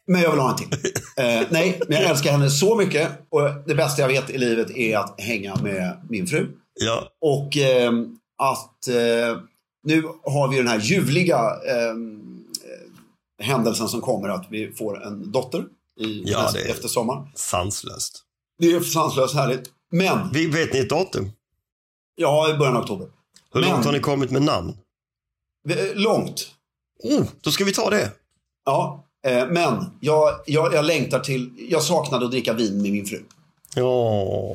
[SPEAKER 1] Men jag vill ha en till. Eh, nej, men jag älskar henne så mycket. Och det bästa jag vet i livet är att hänga med min fru.
[SPEAKER 2] Ja.
[SPEAKER 1] Och ehm, att eh, nu har vi den här ljuvliga ehm, eh, händelsen som kommer att vi får en dotter i,
[SPEAKER 2] Ja,
[SPEAKER 1] nästa-
[SPEAKER 2] det är-
[SPEAKER 1] efter sommaren.
[SPEAKER 2] Sanslöst.
[SPEAKER 1] Det är sanslöst härligt. Men,
[SPEAKER 2] Vi vet ni ett datum?
[SPEAKER 1] ja, i början av oktober.
[SPEAKER 2] Hur
[SPEAKER 1] Men-
[SPEAKER 2] långt har ni kommit med namn?
[SPEAKER 1] Eh, Långt.
[SPEAKER 2] Oh, då ska vi ta det.
[SPEAKER 1] Ja, eh, men jag, jag, jag längtar till, jag saknade att dricka vin med min fru.
[SPEAKER 2] Ja,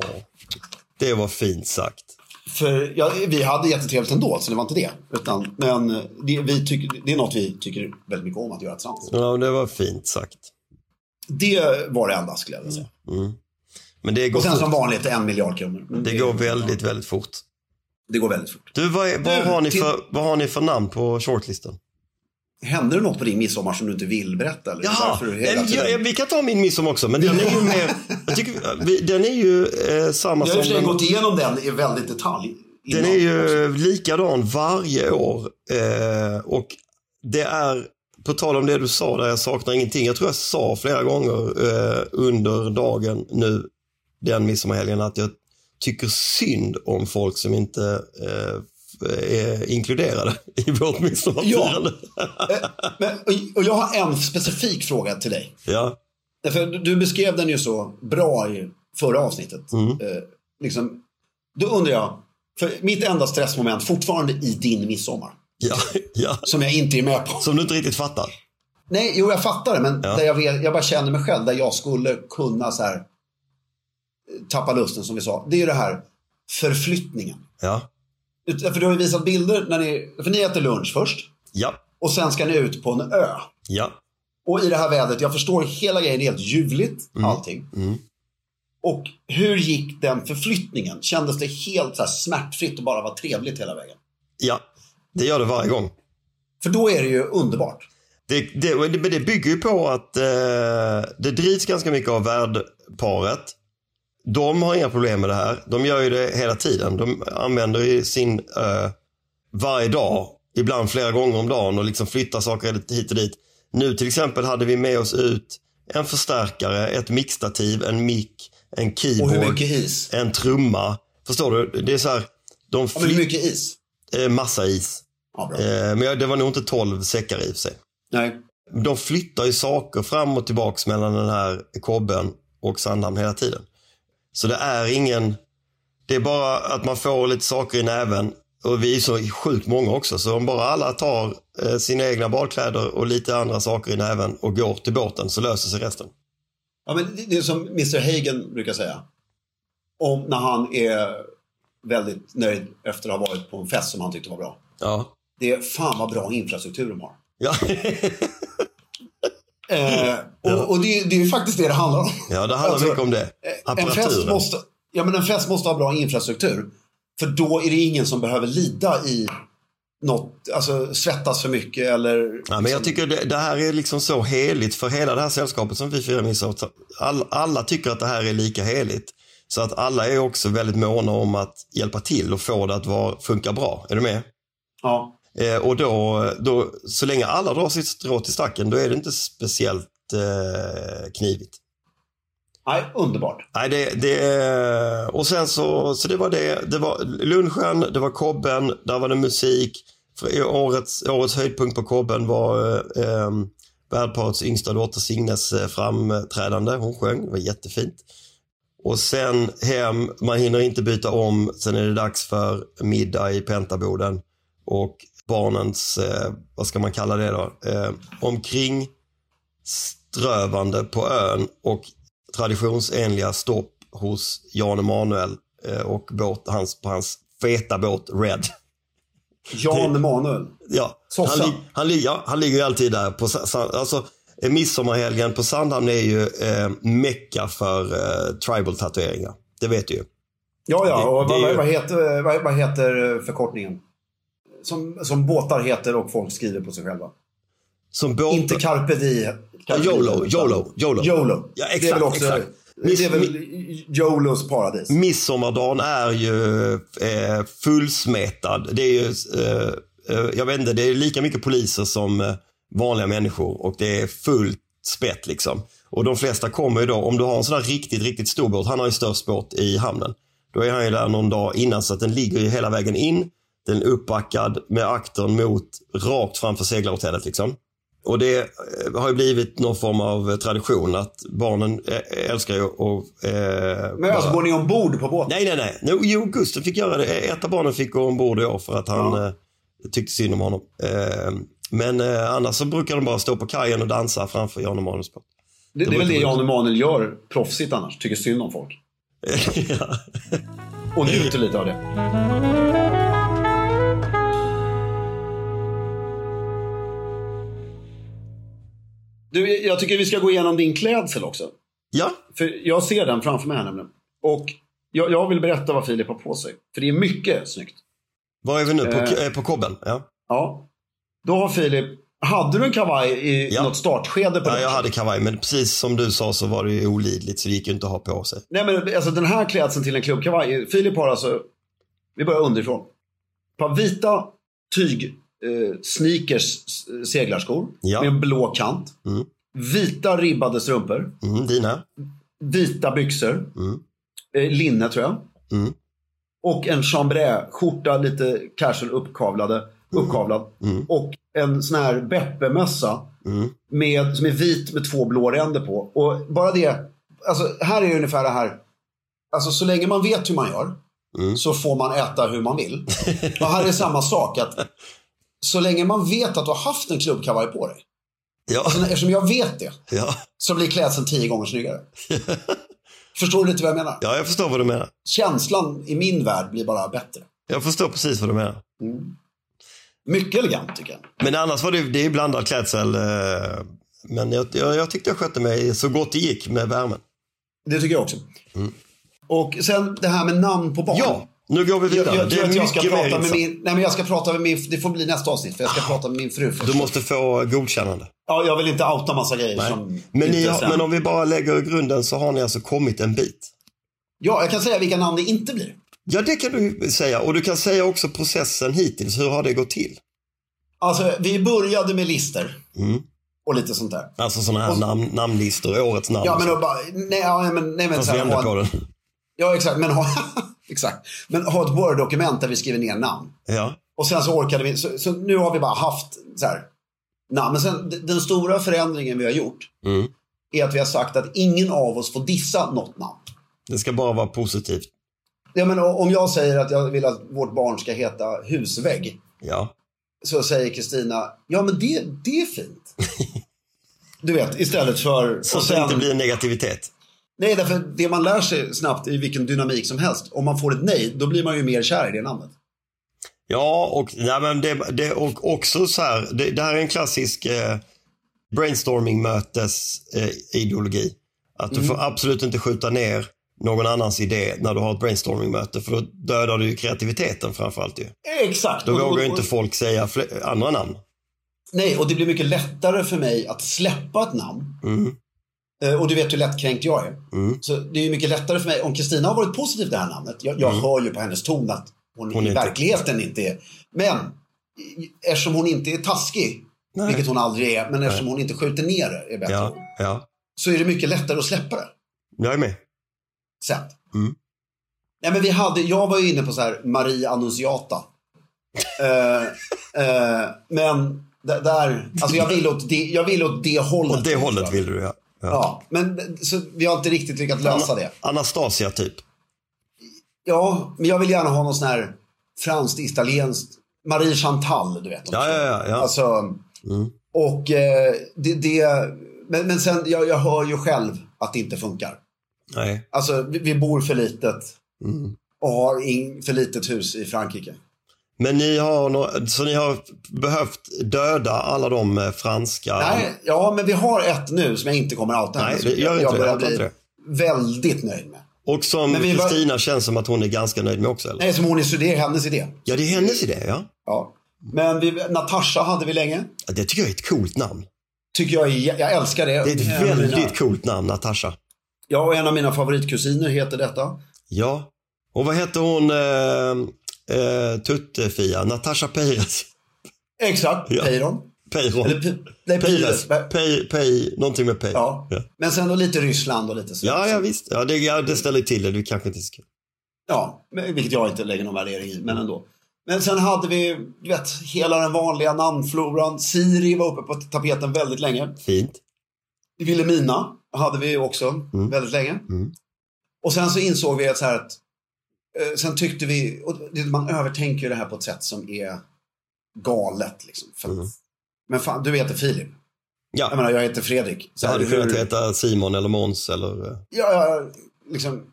[SPEAKER 2] det var fint sagt.
[SPEAKER 1] För jag, vi hade jättetrevligt ändå, så det var inte det. Utan, men eh,
[SPEAKER 2] Mm.
[SPEAKER 1] det, vi tycker, det är något vi tycker väldigt mycket om att göra tillsammans.
[SPEAKER 2] Ja, det var fint sagt.
[SPEAKER 1] Det var det enda skulle jag vilja säga.
[SPEAKER 2] Men det går,
[SPEAKER 1] Och sen som
[SPEAKER 2] fort.
[SPEAKER 1] vanligt en miljard kronor. Men
[SPEAKER 2] det går väldigt, väldigt fort.
[SPEAKER 1] det går väldigt fort.
[SPEAKER 2] Du, vad, är, vad,
[SPEAKER 1] Du,
[SPEAKER 2] har ni
[SPEAKER 1] till-
[SPEAKER 2] för, vad har ni för namn på shortlisten?
[SPEAKER 1] Hände det något på din midsommar som du inte vill berätta? Eller
[SPEAKER 2] Ja,
[SPEAKER 1] varför du hela
[SPEAKER 2] jag,
[SPEAKER 1] tiden-
[SPEAKER 2] jag, vi kan ta min midsommar också, men den är ju mer... Jag tycker, vi- den är ju eh, samma
[SPEAKER 1] Jag har i och för sig
[SPEAKER 2] som...
[SPEAKER 1] gått igenom den i väldigt detalj.
[SPEAKER 2] Den,
[SPEAKER 1] innan.
[SPEAKER 2] den är ju likadan varje år. Eh, och det är, på tal om det du sa där, jag saknar ingenting. Jag tror jag sa flera gånger eh, under dagen nu, den midsommarhelgen, att jag tycker synd om folk som inte eh, f- är inkluderade i vårt midsommarfirande.
[SPEAKER 1] Men, och, och jag har en specifik fråga till dig.
[SPEAKER 2] ja.
[SPEAKER 1] Därför du- du beskrev den ju så bra i förra avsnittet.
[SPEAKER 2] Mm.
[SPEAKER 1] Eh, liksom, då undrar jag, för mitt enda stressmoment fortfarande i din midsommar,
[SPEAKER 2] Ja, ja,
[SPEAKER 1] som jag inte är med på.
[SPEAKER 2] som du inte riktigt fattar.
[SPEAKER 1] Nej, jo jag fattar det, men där jag, vet, jag bara känner mig själv, där jag skulle kunna så här, eh, tappa lusten som vi sa. Det är ju det här förflyttningen.
[SPEAKER 2] Ja,
[SPEAKER 1] Ut- För du har ju visat bilder, när ni, för ni äter lunch först
[SPEAKER 2] ja,
[SPEAKER 1] och sen ska ni ut på en ö.
[SPEAKER 2] ja,
[SPEAKER 1] Och i det här vädret, jag förstår hela grejen, det är helt ljuvligt allting. Och hur gick den förflyttningen? Kändes det helt så här smärtfritt och bara var trevligt hela vägen?
[SPEAKER 2] ja. Det gör det varje gång.
[SPEAKER 1] För då är det ju underbart.
[SPEAKER 2] Det, det, men det bygger ju på att eh, det drivs ganska mycket av värdparet. De har inga problem med det här. De gör ju det hela tiden. De använder ju sin ö varje dag, ibland flera gånger om dagen och liksom flyttar saker hit och dit. Nu till exempel hade vi med oss ut en förstärkare, ett mixtativ, en mick, en
[SPEAKER 1] Och
[SPEAKER 2] keyboard,
[SPEAKER 1] hur mycket is?
[SPEAKER 2] en trumma. Förstår du? Det är så här, de
[SPEAKER 1] Ja, men hur
[SPEAKER 2] flyttar
[SPEAKER 1] mycket is?
[SPEAKER 2] eh, massa is.
[SPEAKER 1] Ja, bra.
[SPEAKER 2] Eh, men jag- det var nog inte 12 säckar i och för sig.
[SPEAKER 1] Nej.
[SPEAKER 2] De flyttar ju saker fram och tillbaks mellan den här kobben och Sandhamn hela tiden. Så det är ingen... Det är bara att man får lite saker i näven. Och vi är så sjukt många också, så om bara alla tar eh, sina egna badkläder och lite andra saker i näven och går till båten så löser sig resten.
[SPEAKER 1] Ja, men det- det är som Mr Hagen brukar säga. Om när han är väldigt nöjd efter att ha varit på en fest som han tyckte var bra.
[SPEAKER 2] Ja.
[SPEAKER 1] Det är fan vad bra infrastruktur de har.
[SPEAKER 2] Ja,
[SPEAKER 1] Eh,
[SPEAKER 2] Mm.
[SPEAKER 1] och och det, det är ju faktiskt det det handlar om.
[SPEAKER 2] ja det handlar
[SPEAKER 1] Alltså,
[SPEAKER 2] mycket om det.
[SPEAKER 1] En fest,
[SPEAKER 2] Apparaturen.
[SPEAKER 1] måste, ja, men en fest måste ha bra infrastruktur. För då är det ingen som behöver lida i något, alltså svettas för mycket eller...
[SPEAKER 2] Ja, men jag tycker det, det här är liksom så heligt för hela det här sällskapet som vi firar midsommar. All, alla tycker att det här är lika heligt. Så att alla är också väldigt måna om att hjälpa till och få det att vara, funka bra. Är du med?
[SPEAKER 1] Ja.
[SPEAKER 2] Eh, och då, då, så länge alla drar sitt strå till stacken, då är det inte speciellt eh, knivigt.
[SPEAKER 1] Nej, underbart.
[SPEAKER 2] Nej, det, det, och sen så, så det var det. Det var lunchen, det var kobben, där var det musik. För i årets, årets höjdpunkt på kobben var eh, eh, värdparets yngsta dotter Signes eh, framträdande. Hon sjöng, det var jättefint. Och sen hem, man hinner inte byta om. Sen är det dags för middag i pentaboden. Och barnens, eh, vad ska man kalla det då? Eh, omkring strövande på ön och traditionsenliga stopp hos Jan Emanuel eh, och båt, hans, på hans feta båt Red.
[SPEAKER 1] Jan Emanuel.
[SPEAKER 2] Ja, han,
[SPEAKER 1] Soffa.
[SPEAKER 2] lig- han, lig- ja, han ligger ju alltid där. På, Sa- Sa- alltså, eh, midsommarhelgen på Sandhamn är ju eh, mecka för eh, tribal-tatueringar. Det vet du ju.
[SPEAKER 1] Ja, ja. Och
[SPEAKER 2] Det- det
[SPEAKER 1] vad,
[SPEAKER 2] är ju-
[SPEAKER 1] vad, heter, vad, vad heter förkortningen? Som, som båtar heter och folk skriver på sig själva.
[SPEAKER 2] Som båt...
[SPEAKER 1] Inte carpe di.
[SPEAKER 2] Ja, YOLO, YOLO, YOLO.
[SPEAKER 1] YOLO.
[SPEAKER 2] Ja,
[SPEAKER 1] det är
[SPEAKER 2] exakt,
[SPEAKER 1] väl också,
[SPEAKER 2] exakt.
[SPEAKER 1] Det är väl YOLOs paradis.
[SPEAKER 2] Midsommardagen är ju eh, fullsmetad. Det är ju, eh, eh, jag vet inte, det är lika mycket poliser som eh, vanliga människor och det är fullt spett liksom. Och de flesta kommer ju då, om du har en sån här riktigt, riktigt stor båt, han har ju störst båt i hamnen. Då är han ju där någon dag innan så att den ligger ju hela vägen in. Den är uppbackad med aktern mot, rakt framför seglarhotellet liksom. Och det eh, har ju blivit någon form av tradition att barnen eh, älskar ju att... Eh,
[SPEAKER 1] Men alltså,
[SPEAKER 2] bara-
[SPEAKER 1] går ni ombord på båten?
[SPEAKER 2] Nej, nej, nej. No, jo, Gusten fick göra det. Ett av barnen fick gå ombord i år för att han eh, tyckte synd om honom. Eh, men eh, annars så brukar de bara stå på kajen och dansa framför Jan Emanuels båt.
[SPEAKER 1] Det, det är väl det Jan Emanuel gör proffsigt annars. Tycker synd om folk.
[SPEAKER 2] Ja.
[SPEAKER 1] Och njuter lite av det. Du, jag tycker vi ska gå igenom din klädsel också.
[SPEAKER 2] Ja,
[SPEAKER 1] För jag ser den framför mig här nämligen. Och jag, jag vill berätta vad Filip har på sig. För det är mycket snyggt.
[SPEAKER 2] var är vi nu? På,
[SPEAKER 1] Eh.
[SPEAKER 2] eh. på kobben? Ja.
[SPEAKER 1] Ja. Då har Filip, hade du en kavaj i
[SPEAKER 2] Ja.
[SPEAKER 1] något startskede på
[SPEAKER 2] ja,
[SPEAKER 1] den?
[SPEAKER 2] jag hade kavaj, men precis som du sa så var det ju olidligt så det gick ju inte att ha på sig.
[SPEAKER 1] Nej men alltså den här klädseln till en klubbkavaj. Filip har alltså, vi börjar underifrån. Ett par vita tyg eh, sneakers eh, seglarskor
[SPEAKER 2] Ja.
[SPEAKER 1] med en blå kant. Vita ribbade strumpor.
[SPEAKER 2] Mm, dina?
[SPEAKER 1] Vita byxor. Eh, linne tror jag.
[SPEAKER 2] Mm.
[SPEAKER 1] Och en chambray-skjorta, lite casual uppkavlade, uppkavlad. Och en sån här Beppe-mössa med, som är vit med två blå ränder på. Och bara det, alltså här är ungefär det här. Alltså så länge man vet hur man gör så får man äta hur man vill. Och här är samma sak. att Så länge man vet att du har haft en klubbkavaj på dig.
[SPEAKER 2] Ja,
[SPEAKER 1] Alltså, eftersom jag vet det
[SPEAKER 2] ja.
[SPEAKER 1] så blir klädseln tio gånger snyggare. Förstår du lite vad jag menar?
[SPEAKER 2] ja jag förstår vad du menar.
[SPEAKER 1] Känslan i min värld blir bara bättre.
[SPEAKER 2] Jag förstår precis vad du menar.
[SPEAKER 1] Mycket elegant tycker jag.
[SPEAKER 2] Men annars var det, det är blandad klädsel. eh, Men jag, jag, jag tyckte jag skötte mig så gott det gick med värmen.
[SPEAKER 1] Det tycker jag också. Och sen det här med namn på barn.
[SPEAKER 2] Mm. Ja, nu går vi
[SPEAKER 1] Jag,
[SPEAKER 2] vidare.
[SPEAKER 1] jag
[SPEAKER 2] det
[SPEAKER 1] tror
[SPEAKER 2] är
[SPEAKER 1] att jag
[SPEAKER 2] mycket
[SPEAKER 1] ska
[SPEAKER 2] mer
[SPEAKER 1] prata med
[SPEAKER 2] intressant. Ah.
[SPEAKER 1] min... Nej, men jag ska prata med min... Det får bli nästa avsnitt, för jag ska prata med min fru först.
[SPEAKER 2] Du måste få godkännande.
[SPEAKER 1] Ja, jag vill inte outa massa grejer
[SPEAKER 2] Nej.
[SPEAKER 1] som...
[SPEAKER 2] Men,
[SPEAKER 1] inte
[SPEAKER 2] ni har,
[SPEAKER 1] sen-
[SPEAKER 2] men om vi bara lägger grunden så har ni alltså kommit en bit.
[SPEAKER 1] Ja, jag kan säga vilka namn det inte blir.
[SPEAKER 2] Ja, det kan du säga. Och du kan säga också processen hittills. Hur har det gått till?
[SPEAKER 1] Alltså, vi började med lister.
[SPEAKER 2] Mm.
[SPEAKER 1] Och lite sånt där.
[SPEAKER 2] Alltså sådana här namn, namnlistor, årets namn.
[SPEAKER 1] Ja, men då Alltså, bara... Nej, ja, men... Nej, men
[SPEAKER 2] Fast
[SPEAKER 1] så
[SPEAKER 2] vi
[SPEAKER 1] här,
[SPEAKER 2] ändrar
[SPEAKER 1] ha
[SPEAKER 2] på
[SPEAKER 1] en,
[SPEAKER 2] den.
[SPEAKER 1] Ja, exakt. Men ha, exakt. Men ha ett Word-dokument där vi skriver ner namn.
[SPEAKER 2] Ja.
[SPEAKER 1] Och sen så orkade vi, så, så nu har vi bara haft så här. Nej, men sen, d- den stora förändringen vi har gjort
[SPEAKER 2] Mm.
[SPEAKER 1] är att vi har sagt att ingen av oss får dissa något namn.
[SPEAKER 2] Det ska bara vara positivt.
[SPEAKER 1] Jag menar, om jag säger att jag vill att vårt barn ska heta husvägg
[SPEAKER 2] Ja.
[SPEAKER 1] så säger Kristina, ja men det, det är fint. Du vet, istället för...
[SPEAKER 2] Så
[SPEAKER 1] och
[SPEAKER 2] att det inte blir negativitet.
[SPEAKER 1] Nej, därför det man lär sig snabbt i vilken dynamik som helst, om man får ett nej, då blir man ju mer kär i det namnet.
[SPEAKER 2] Ja, och, nej, men det, det, och också så här. Det, det här är en klassisk eh, brainstorming-mötesideologi. Eh, ideologi. att
[SPEAKER 1] Mm.
[SPEAKER 2] du får absolut inte skjuta ner någon annans idé när du har ett brainstorming-möte. För då dödar du ju kreativiteten framförallt ju.
[SPEAKER 1] Exakt.
[SPEAKER 2] Då
[SPEAKER 1] Och-
[SPEAKER 2] vågar ju
[SPEAKER 1] och-
[SPEAKER 2] inte folk säga fler, andra namn.
[SPEAKER 1] Nej, och det blir mycket lättare för mig att släppa ett namn.
[SPEAKER 2] Mm.
[SPEAKER 1] Eh, Och du vet hur lättkränkt jag är. Så det är ju mycket lättare för mig. Om Kristina har varit positiv till det här namnet. Jag, jag hör ju på hennes ton att hon,
[SPEAKER 2] Mm. Hon är
[SPEAKER 1] i
[SPEAKER 2] inte-
[SPEAKER 1] verkligheten inte är. Men i- eftersom hon inte är taskig,
[SPEAKER 2] Nej.
[SPEAKER 1] vilket hon aldrig är, men eftersom hon inte skjuter ner det, är bättre
[SPEAKER 2] Ja,
[SPEAKER 1] ord,
[SPEAKER 2] ja.
[SPEAKER 1] så är det mycket lättare att släppa det
[SPEAKER 2] Jag är med.
[SPEAKER 1] sen.
[SPEAKER 2] Mm.
[SPEAKER 1] Nej, men vi hade, jag var ju inne på så här Marie Annunziata. Eh, eh, men d- där, alltså jag vill åt det, jag vill åt det hållet.
[SPEAKER 2] Åt det hållet vill du ja.
[SPEAKER 1] Ja, men d- så vi har inte riktigt lyckats lösa det.
[SPEAKER 2] Anastasia typ.
[SPEAKER 1] Ja, men jag vill gärna ha någon sån här franskt, italienskt, Marie Chantal, du vet.
[SPEAKER 2] Ja, ja, ja. Mm. ja.
[SPEAKER 1] Alltså, och eh, det, det men, men sen, jag, jag hör ju själv att det inte funkar.
[SPEAKER 2] Nej.
[SPEAKER 1] Alltså, vi, vi bor för litet
[SPEAKER 2] Mm.
[SPEAKER 1] och har in, för litet hus i Frankrike.
[SPEAKER 2] Men ni har, nå- så ni har behövt döda alla de eh, franska...
[SPEAKER 1] Nej, ja, men vi har ett nu som jag inte kommer outa.
[SPEAKER 2] Nej,
[SPEAKER 1] henne,
[SPEAKER 2] det
[SPEAKER 1] som
[SPEAKER 2] gör inte
[SPEAKER 1] jag
[SPEAKER 2] det.
[SPEAKER 1] börjar
[SPEAKER 2] Jag tar
[SPEAKER 1] bli
[SPEAKER 2] inte det.
[SPEAKER 1] väldigt nöjd med.
[SPEAKER 2] Och som
[SPEAKER 1] Men vi var-
[SPEAKER 2] Kristina känns som att hon är ganska nöjd med också. Eller?
[SPEAKER 1] Nej, som hon är, så det är hennes idé.
[SPEAKER 2] Ja, det är hennes idé. Ja.
[SPEAKER 1] Ja. Men vi, Natasha hade vi länge.
[SPEAKER 2] Ja, Det tycker jag är ett coolt namn.
[SPEAKER 1] Tycker jag, är, jä- jag älskar det.
[SPEAKER 2] Det är ett
[SPEAKER 1] En av mina-
[SPEAKER 2] väldigt coolt namn, Natasha.
[SPEAKER 1] Ja, och en av mina favoritkusiner heter detta.
[SPEAKER 2] Ja. Och vad hette hon, eh, eh, Tutte-Fia? Natasha Peiras?
[SPEAKER 1] Exakt,
[SPEAKER 2] Ja.
[SPEAKER 1] Peyron.
[SPEAKER 2] Peiron?
[SPEAKER 1] Eller Pi- nej,
[SPEAKER 2] Peiras?
[SPEAKER 1] Pires.
[SPEAKER 2] Pej, Pej, någonting med Pej.
[SPEAKER 1] Ja.
[SPEAKER 2] Ja.
[SPEAKER 1] Men sen då lite Ryssland och lite så.
[SPEAKER 2] Ja, ja visst. Ja, det, ja, det ställer till det. Det kanske inte ska...
[SPEAKER 1] Ja, men- vilket jag inte lägger någon värdering i,
[SPEAKER 2] Mm.
[SPEAKER 1] men ändå. Men sen hade vi, du vet, hela den vanliga namnfloran. Siri var uppe på tapeten väldigt länge.
[SPEAKER 2] Fint.
[SPEAKER 1] Vilhelmina hade vi också
[SPEAKER 2] Mm.
[SPEAKER 1] väldigt länge. Och sen så insåg vi att så här att eh, sen tyckte vi, och det- man övertänker ju det här på ett sätt som är galet liksom. För att,
[SPEAKER 2] Mm.
[SPEAKER 1] Men fan, du heter Filip.
[SPEAKER 2] Ja,
[SPEAKER 1] Jag menar, jag heter Fredrik. Så
[SPEAKER 2] det hade
[SPEAKER 1] här,
[SPEAKER 2] kunnat
[SPEAKER 1] hur-
[SPEAKER 2] heta Simon eller Måns eller... eh,
[SPEAKER 1] Ja, ja, liksom.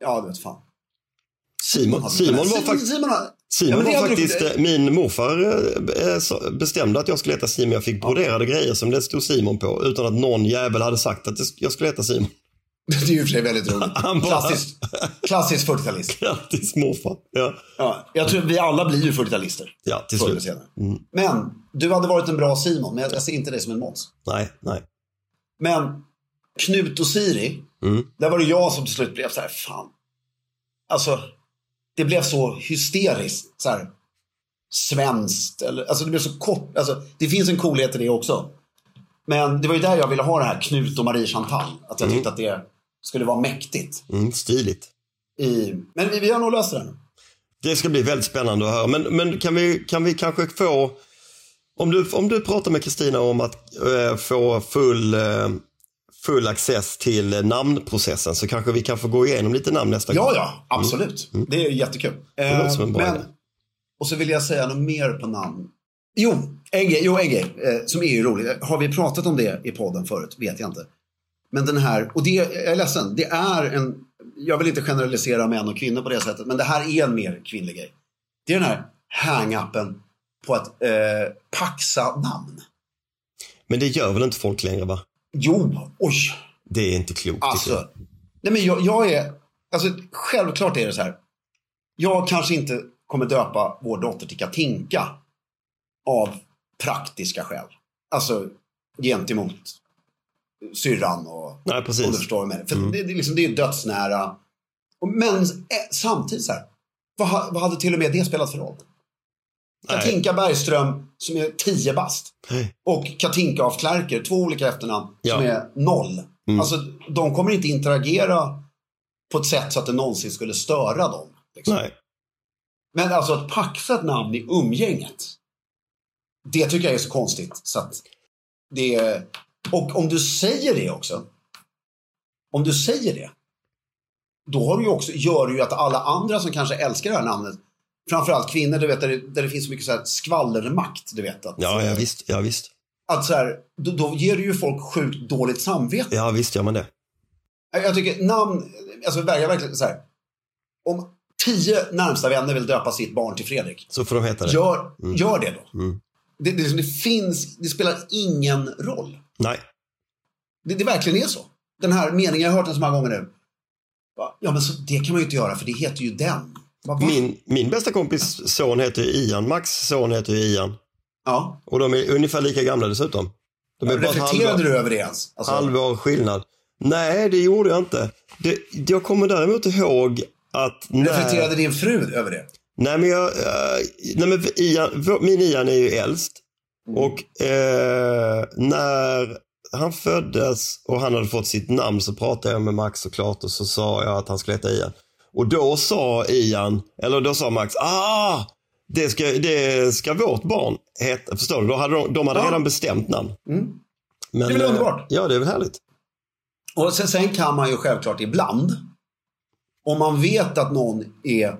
[SPEAKER 1] Ja, du vet fan.
[SPEAKER 2] Simon, Simon var faktiskt...
[SPEAKER 1] Simon, har- Ja,
[SPEAKER 2] Simon
[SPEAKER 1] men det
[SPEAKER 2] var
[SPEAKER 1] hade du-
[SPEAKER 2] faktiskt, eh, min morfar eh, eh, så- bestämde att jag skulle heta Simon. Jag fick broderade grejer som det stod Simon på utan att någon jävel hade sagt att det sk- jag skulle heta Simon.
[SPEAKER 1] Det är ju i och för sig väldigt roligt.
[SPEAKER 2] Han bara-
[SPEAKER 1] Klassiskt, klassiskt 40-talist.
[SPEAKER 2] Grattis morfar. Ja,
[SPEAKER 1] Ja, jag tror vi alla blir ju 40-talister.
[SPEAKER 2] ja till
[SPEAKER 1] Förr eller
[SPEAKER 2] slut.
[SPEAKER 1] senare. Men du hade varit en bra Simon, men jag jag ser inte dig som en Måns.
[SPEAKER 2] Nej, nej.
[SPEAKER 1] Men Knut och Siri,
[SPEAKER 2] Mm.
[SPEAKER 1] där var det jag som till slut blev så här, fan. Alltså, det blev så hysteriskt. Så här, svenskt. Eller, alltså det blev så kort. Alltså, det finns en coolhet i det också. Men det var ju där jag ville ha det här Knut och Marie Chantal. Att jag tyckte att det skulle vara mäktigt.
[SPEAKER 2] Mm, stiligt.
[SPEAKER 1] I, men vi, vi har nog löst det där nu.
[SPEAKER 2] Det ska bli väldigt spännande att höra. Men, men kan, vi, kan vi kanske få, om du, om du pratar med Kristina om att eh, få full, eh, full access till eh, namnprocessen så kanske vi kan få gå igenom lite namn nästa
[SPEAKER 1] Ja,
[SPEAKER 2] gång.
[SPEAKER 1] ja, absolut. Det är jättekul.
[SPEAKER 2] Mm.
[SPEAKER 1] Eh,
[SPEAKER 2] låter som en bra idé.
[SPEAKER 1] men, och så vill jag säga något mer på namn. Jo, en grej, jo, en grej eh, som är ju rolig. Har vi pratat om det i podden förut? Vet jag inte. Men den här, och det, jag är ledsen, det är en, jag vill inte generalisera män och kvinnor på det sättet, men det här är en mer kvinnlig grej. Det är den här hang-upen på att eh, paxa namn.
[SPEAKER 2] Men det gör väl inte folk längre va?
[SPEAKER 1] Jo, oj,
[SPEAKER 2] Det är inte klokt. tycker jag.
[SPEAKER 1] Alltså, nej men jag, jag är, alltså självklart är det så här. Jag kanske inte kommer döpa vår dotter till Katinka av praktiska skäl. Alltså gentemot syrran och...
[SPEAKER 2] Nej, precis. Mm.
[SPEAKER 1] Om du förstår vad jag menar. För det, det, är liksom, det är ju dödsnära. Och- Men eh, samtidigt så här, vad, ha- vad hade till och med det spelat för roll?
[SPEAKER 2] Nej.
[SPEAKER 1] Katinka Bergström som är 10 bast. Och Katinka af Klerker, två olika efternamn
[SPEAKER 2] Ja. Mm.
[SPEAKER 1] som är noll. Alltså de kommer inte interagera på ett sätt så att det någonsin skulle störa dem. Liksom.
[SPEAKER 2] Nej.
[SPEAKER 1] Men alltså att paxa ett namn i umgänget. Det tycker jag är så konstigt. Så att det är... Och om du säger det också. Om du säger det. Då har du ju också, gör du ju att alla andra som kanske älskar det här namnet. Framförallt kvinnor, du vet, där, det, där det finns så mycket så här skvallermakt. Du vet, att,
[SPEAKER 2] Ja, ja, visst. Ja, visst.
[SPEAKER 1] att så här, då, då ger du ju folk sjukt dåligt samvete.
[SPEAKER 2] Ja, visst gör man det.
[SPEAKER 1] Jag jag tycker namn, alltså vägrar verkligen så här. Om tio närmsta vänner vill döpa sitt barn till Fredrik,
[SPEAKER 2] Så får de heta det.
[SPEAKER 1] gör, gör det då.
[SPEAKER 2] Mm.
[SPEAKER 1] Det, det, liksom, det finns, det spelar ingen roll.
[SPEAKER 2] Nej.
[SPEAKER 1] Det, det verkligen är så. Den här meningen, jag har hört den så många gånger nu. Va? Ja, men så, det kan man ju inte göra för det heter ju den. Va, va?
[SPEAKER 2] Min, min bästa kompis son heter ju Ian. Max son heter ju Ian.
[SPEAKER 1] Ja.
[SPEAKER 2] Och de är ungefär lika gamla dessutom. De är bara ett halvår-
[SPEAKER 1] Reflekterade du över det ens? Alltså,
[SPEAKER 2] halvår skillnad. Nej, det gjorde jag inte. Det, jag kommer däremot ihåg att... När,
[SPEAKER 1] reflekterade din fru över det?
[SPEAKER 2] nej, men jag, eh, nej, men Ian, vår- min Ian är ju äldst.
[SPEAKER 1] Mm.
[SPEAKER 2] Och eh, när han föddes och han hade fått sitt namn så pratade jag med Max såklart och så sa jag att han skulle heta Ian. Och då sa Ian, eller då sa Max, ah! Det ska, det ska vårt barn heta. Förstår du? Då hade de, de hade
[SPEAKER 1] Ja. Mm.
[SPEAKER 2] redan bestämt namn. Men, det
[SPEAKER 1] är väl underbart?
[SPEAKER 2] Ja, det är väl härligt.
[SPEAKER 1] Och sen, sen kan man ju självklart ibland, om man vet att någon är,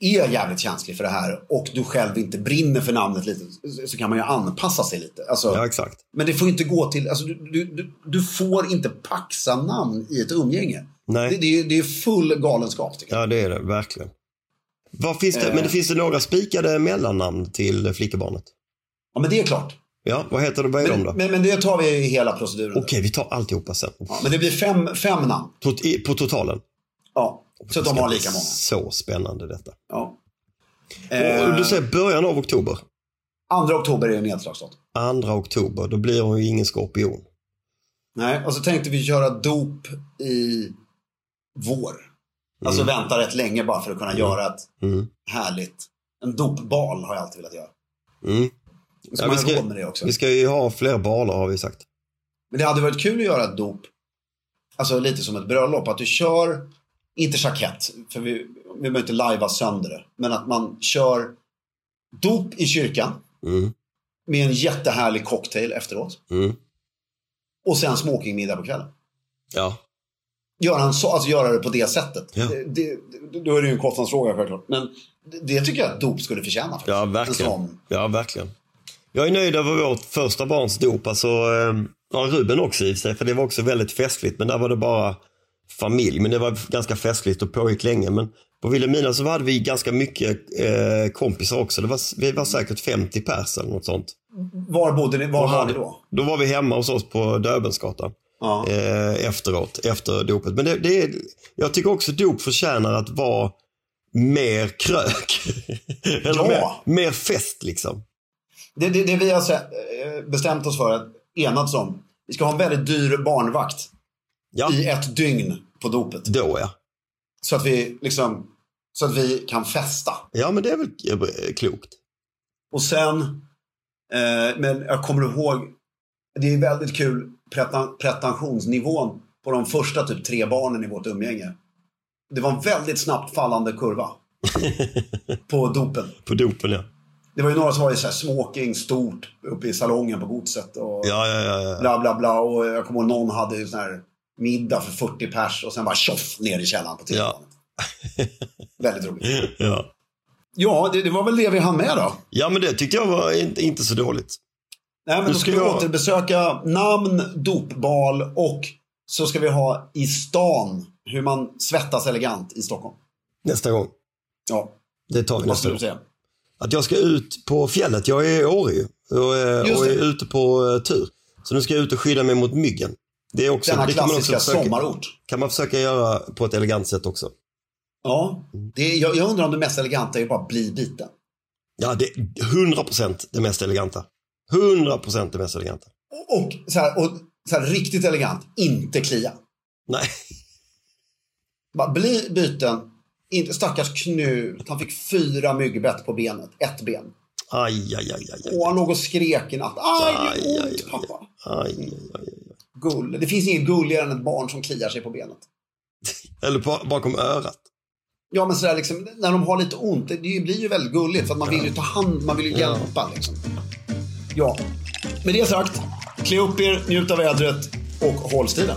[SPEAKER 1] är jävligt känslig för det här och du själv inte brinner för namnet lite, så- så kan man ju anpassa sig lite. Alltså,
[SPEAKER 2] Ja, exakt.
[SPEAKER 1] Men det får inte gå till, alltså, du, du, du, du får inte paxa namn i ett umgänge.
[SPEAKER 2] Nej.
[SPEAKER 1] Det, det, är, ju- det är full galenskap tycker jag.
[SPEAKER 2] Ja, det är det verkligen. Vad finns
[SPEAKER 1] Eh.
[SPEAKER 2] det, men det finns det några spikade mellannamn till flickebarnet?
[SPEAKER 1] Ja, men det är klart.
[SPEAKER 2] Ja, vad heter de? Vad är de
[SPEAKER 1] Men,
[SPEAKER 2] då?
[SPEAKER 1] men, men det tar vi i hela proceduren.
[SPEAKER 2] Okej, vi tar alltihopa sen.
[SPEAKER 1] Ja, men det blir fem, fem namn.
[SPEAKER 2] Tot, i, på totalen.
[SPEAKER 1] Ja, så att de
[SPEAKER 2] Det
[SPEAKER 1] har
[SPEAKER 2] ska
[SPEAKER 1] lika
[SPEAKER 2] bli
[SPEAKER 1] många.
[SPEAKER 2] Så spännande detta.
[SPEAKER 1] Ja.
[SPEAKER 2] Och
[SPEAKER 1] Eh,
[SPEAKER 2] du säger början av oktober.
[SPEAKER 1] 2 oktober är nedslagsdatum.
[SPEAKER 2] Andra oktober, då blir hon ju ingen skorpion.
[SPEAKER 1] Nej, och så tänkte vi göra dop i vår. Alltså vänta rätt länge bara för att kunna göra ett
[SPEAKER 2] Mm.
[SPEAKER 1] härligt, en dopbal har jag alltid velat göra.
[SPEAKER 2] Mm.
[SPEAKER 1] Så
[SPEAKER 2] Ja,
[SPEAKER 1] man
[SPEAKER 2] vi,
[SPEAKER 1] har
[SPEAKER 2] ska,
[SPEAKER 1] råd med det också.
[SPEAKER 2] vi ska ju ha fler baler har vi sagt.
[SPEAKER 1] Men det hade varit kul att göra ett dop, alltså lite som ett bröllop, att du kör, inte jackett, för vi, vi behöver inte lajva sönder det, men att man kör dop i kyrkan
[SPEAKER 2] Mm.
[SPEAKER 1] med en jättehärlig cocktail efteråt
[SPEAKER 2] Mm.
[SPEAKER 1] och sen smokingmiddag på kvällen.
[SPEAKER 2] Ja.
[SPEAKER 1] göra, en så, alltså göra det på det sättet.
[SPEAKER 2] Ja.
[SPEAKER 1] Det, det, då är det ju en kostnadsfråga självklart. Men det, det tycker jag att dop skulle förtjäna. Faktiskt.
[SPEAKER 2] Ja,
[SPEAKER 1] En sån.
[SPEAKER 2] verkligen. Ja, verkligen. Jag är nöjd över vårt första barns dop. Alltså, eh, ja, Ruben också i och för sig, för det var också väldigt festligt. Men där var det bara familj. Men det var ganska festligt och pågick länge. Men På Vilhelmina så hade vi ganska mycket eh, kompisar också. Det var, vi var säkert 50 pers eller något sånt.
[SPEAKER 1] Var bodde ni, var
[SPEAKER 2] Och
[SPEAKER 1] var
[SPEAKER 2] hade-
[SPEAKER 1] ni då?
[SPEAKER 2] Då var vi hemma hos oss på Döbelnsgatan.
[SPEAKER 1] Ja.
[SPEAKER 2] Eh, efteråt, efter dopet. Men det, det är, jag tycker också dop förtjänar att vara mer krök. Eller
[SPEAKER 1] Ja.
[SPEAKER 2] mer, mer fest liksom.
[SPEAKER 1] Det, det, det vi har sett, eh, bestämt oss för, att enats om. Vi ska ha en väldigt dyr barnvakt
[SPEAKER 2] Ja,
[SPEAKER 1] i ett dygn på dopet.
[SPEAKER 2] då ja.
[SPEAKER 1] Så att vi liksom, så att vi kan festa.
[SPEAKER 2] Ja men det är väl eh, klokt.
[SPEAKER 1] Och sen, eh, men jag kommer ihåg, det är väldigt kul pretan, pretensionsnivån på de första typ tre barnen i vårt umgänge. Det var en väldigt snabbt fallande kurva på dopen.
[SPEAKER 2] På dopen ja.
[SPEAKER 1] Det var ju några som var i så här smoking, stort, uppe i salongen på godset och
[SPEAKER 2] Ja, ja, ja. ja.
[SPEAKER 1] bla bla bla. Och jag kommer ihåg någon hade ju sån här middag för 40 pers och sen bara tjoff ner i källaren på tv-planet. väldigt roligt.
[SPEAKER 2] ja.
[SPEAKER 1] Ja, det, det var väl det vi hann med då.
[SPEAKER 2] ja men det tyckte jag var inte, inte så dåligt.
[SPEAKER 1] Nej, men
[SPEAKER 2] Nu
[SPEAKER 1] då ska
[SPEAKER 2] ska
[SPEAKER 1] vi
[SPEAKER 2] jag-
[SPEAKER 1] återbesöka namn, dopbal och så ska vi ha i stan hur man svettas elegant i Stockholm.
[SPEAKER 2] Nästa gång.
[SPEAKER 1] Ja,
[SPEAKER 2] Det tar vi
[SPEAKER 1] vad
[SPEAKER 2] nästa
[SPEAKER 1] skulle
[SPEAKER 2] gång.
[SPEAKER 1] du säga?
[SPEAKER 2] Att jag ska ut på fjället. Jag är i Åre ju. Och, eh,
[SPEAKER 1] Just
[SPEAKER 2] och
[SPEAKER 1] det.
[SPEAKER 2] är ute på eh, tur. Så nu ska jag ut och skydda mig mot myggen. Det är också,
[SPEAKER 1] Denna
[SPEAKER 2] det kan man också
[SPEAKER 1] klassiska
[SPEAKER 2] försöka,
[SPEAKER 1] sommarort.
[SPEAKER 2] kan man försöka göra på ett elegant sätt också.
[SPEAKER 1] Ja, det är, jag, jag undrar om det mest eleganta är bara att bli biten.
[SPEAKER 2] Ja, det är 100% det mest eleganta. 100% det mest eleganta.
[SPEAKER 1] Och, och, så här, och så här, riktigt elegant, inte klia.
[SPEAKER 2] Nej,
[SPEAKER 1] Bara bli biten. Inte, stackars Knut, han fick fyra myggbett på benet, ett ben.
[SPEAKER 2] aj, aj, aj, aj, aj.
[SPEAKER 1] Och han låg och skrek i natt. Aj, det
[SPEAKER 2] Aj,
[SPEAKER 1] gör
[SPEAKER 2] aj,
[SPEAKER 1] ont
[SPEAKER 2] aj.
[SPEAKER 1] pappa.
[SPEAKER 2] aj, aj, aj, aj.
[SPEAKER 1] Gull. Det finns inget gulligare än ett barn som kliar sig på benet.
[SPEAKER 2] Eller på, bakom örat.
[SPEAKER 1] Ja men sådär liksom, när de har lite ont, det det blir ju väldigt gulligt för att man vill ju ta hand, man vill ju hjälpa liksom. Ja, med det sagt, klä upp er, njut av vädret och håll stilen.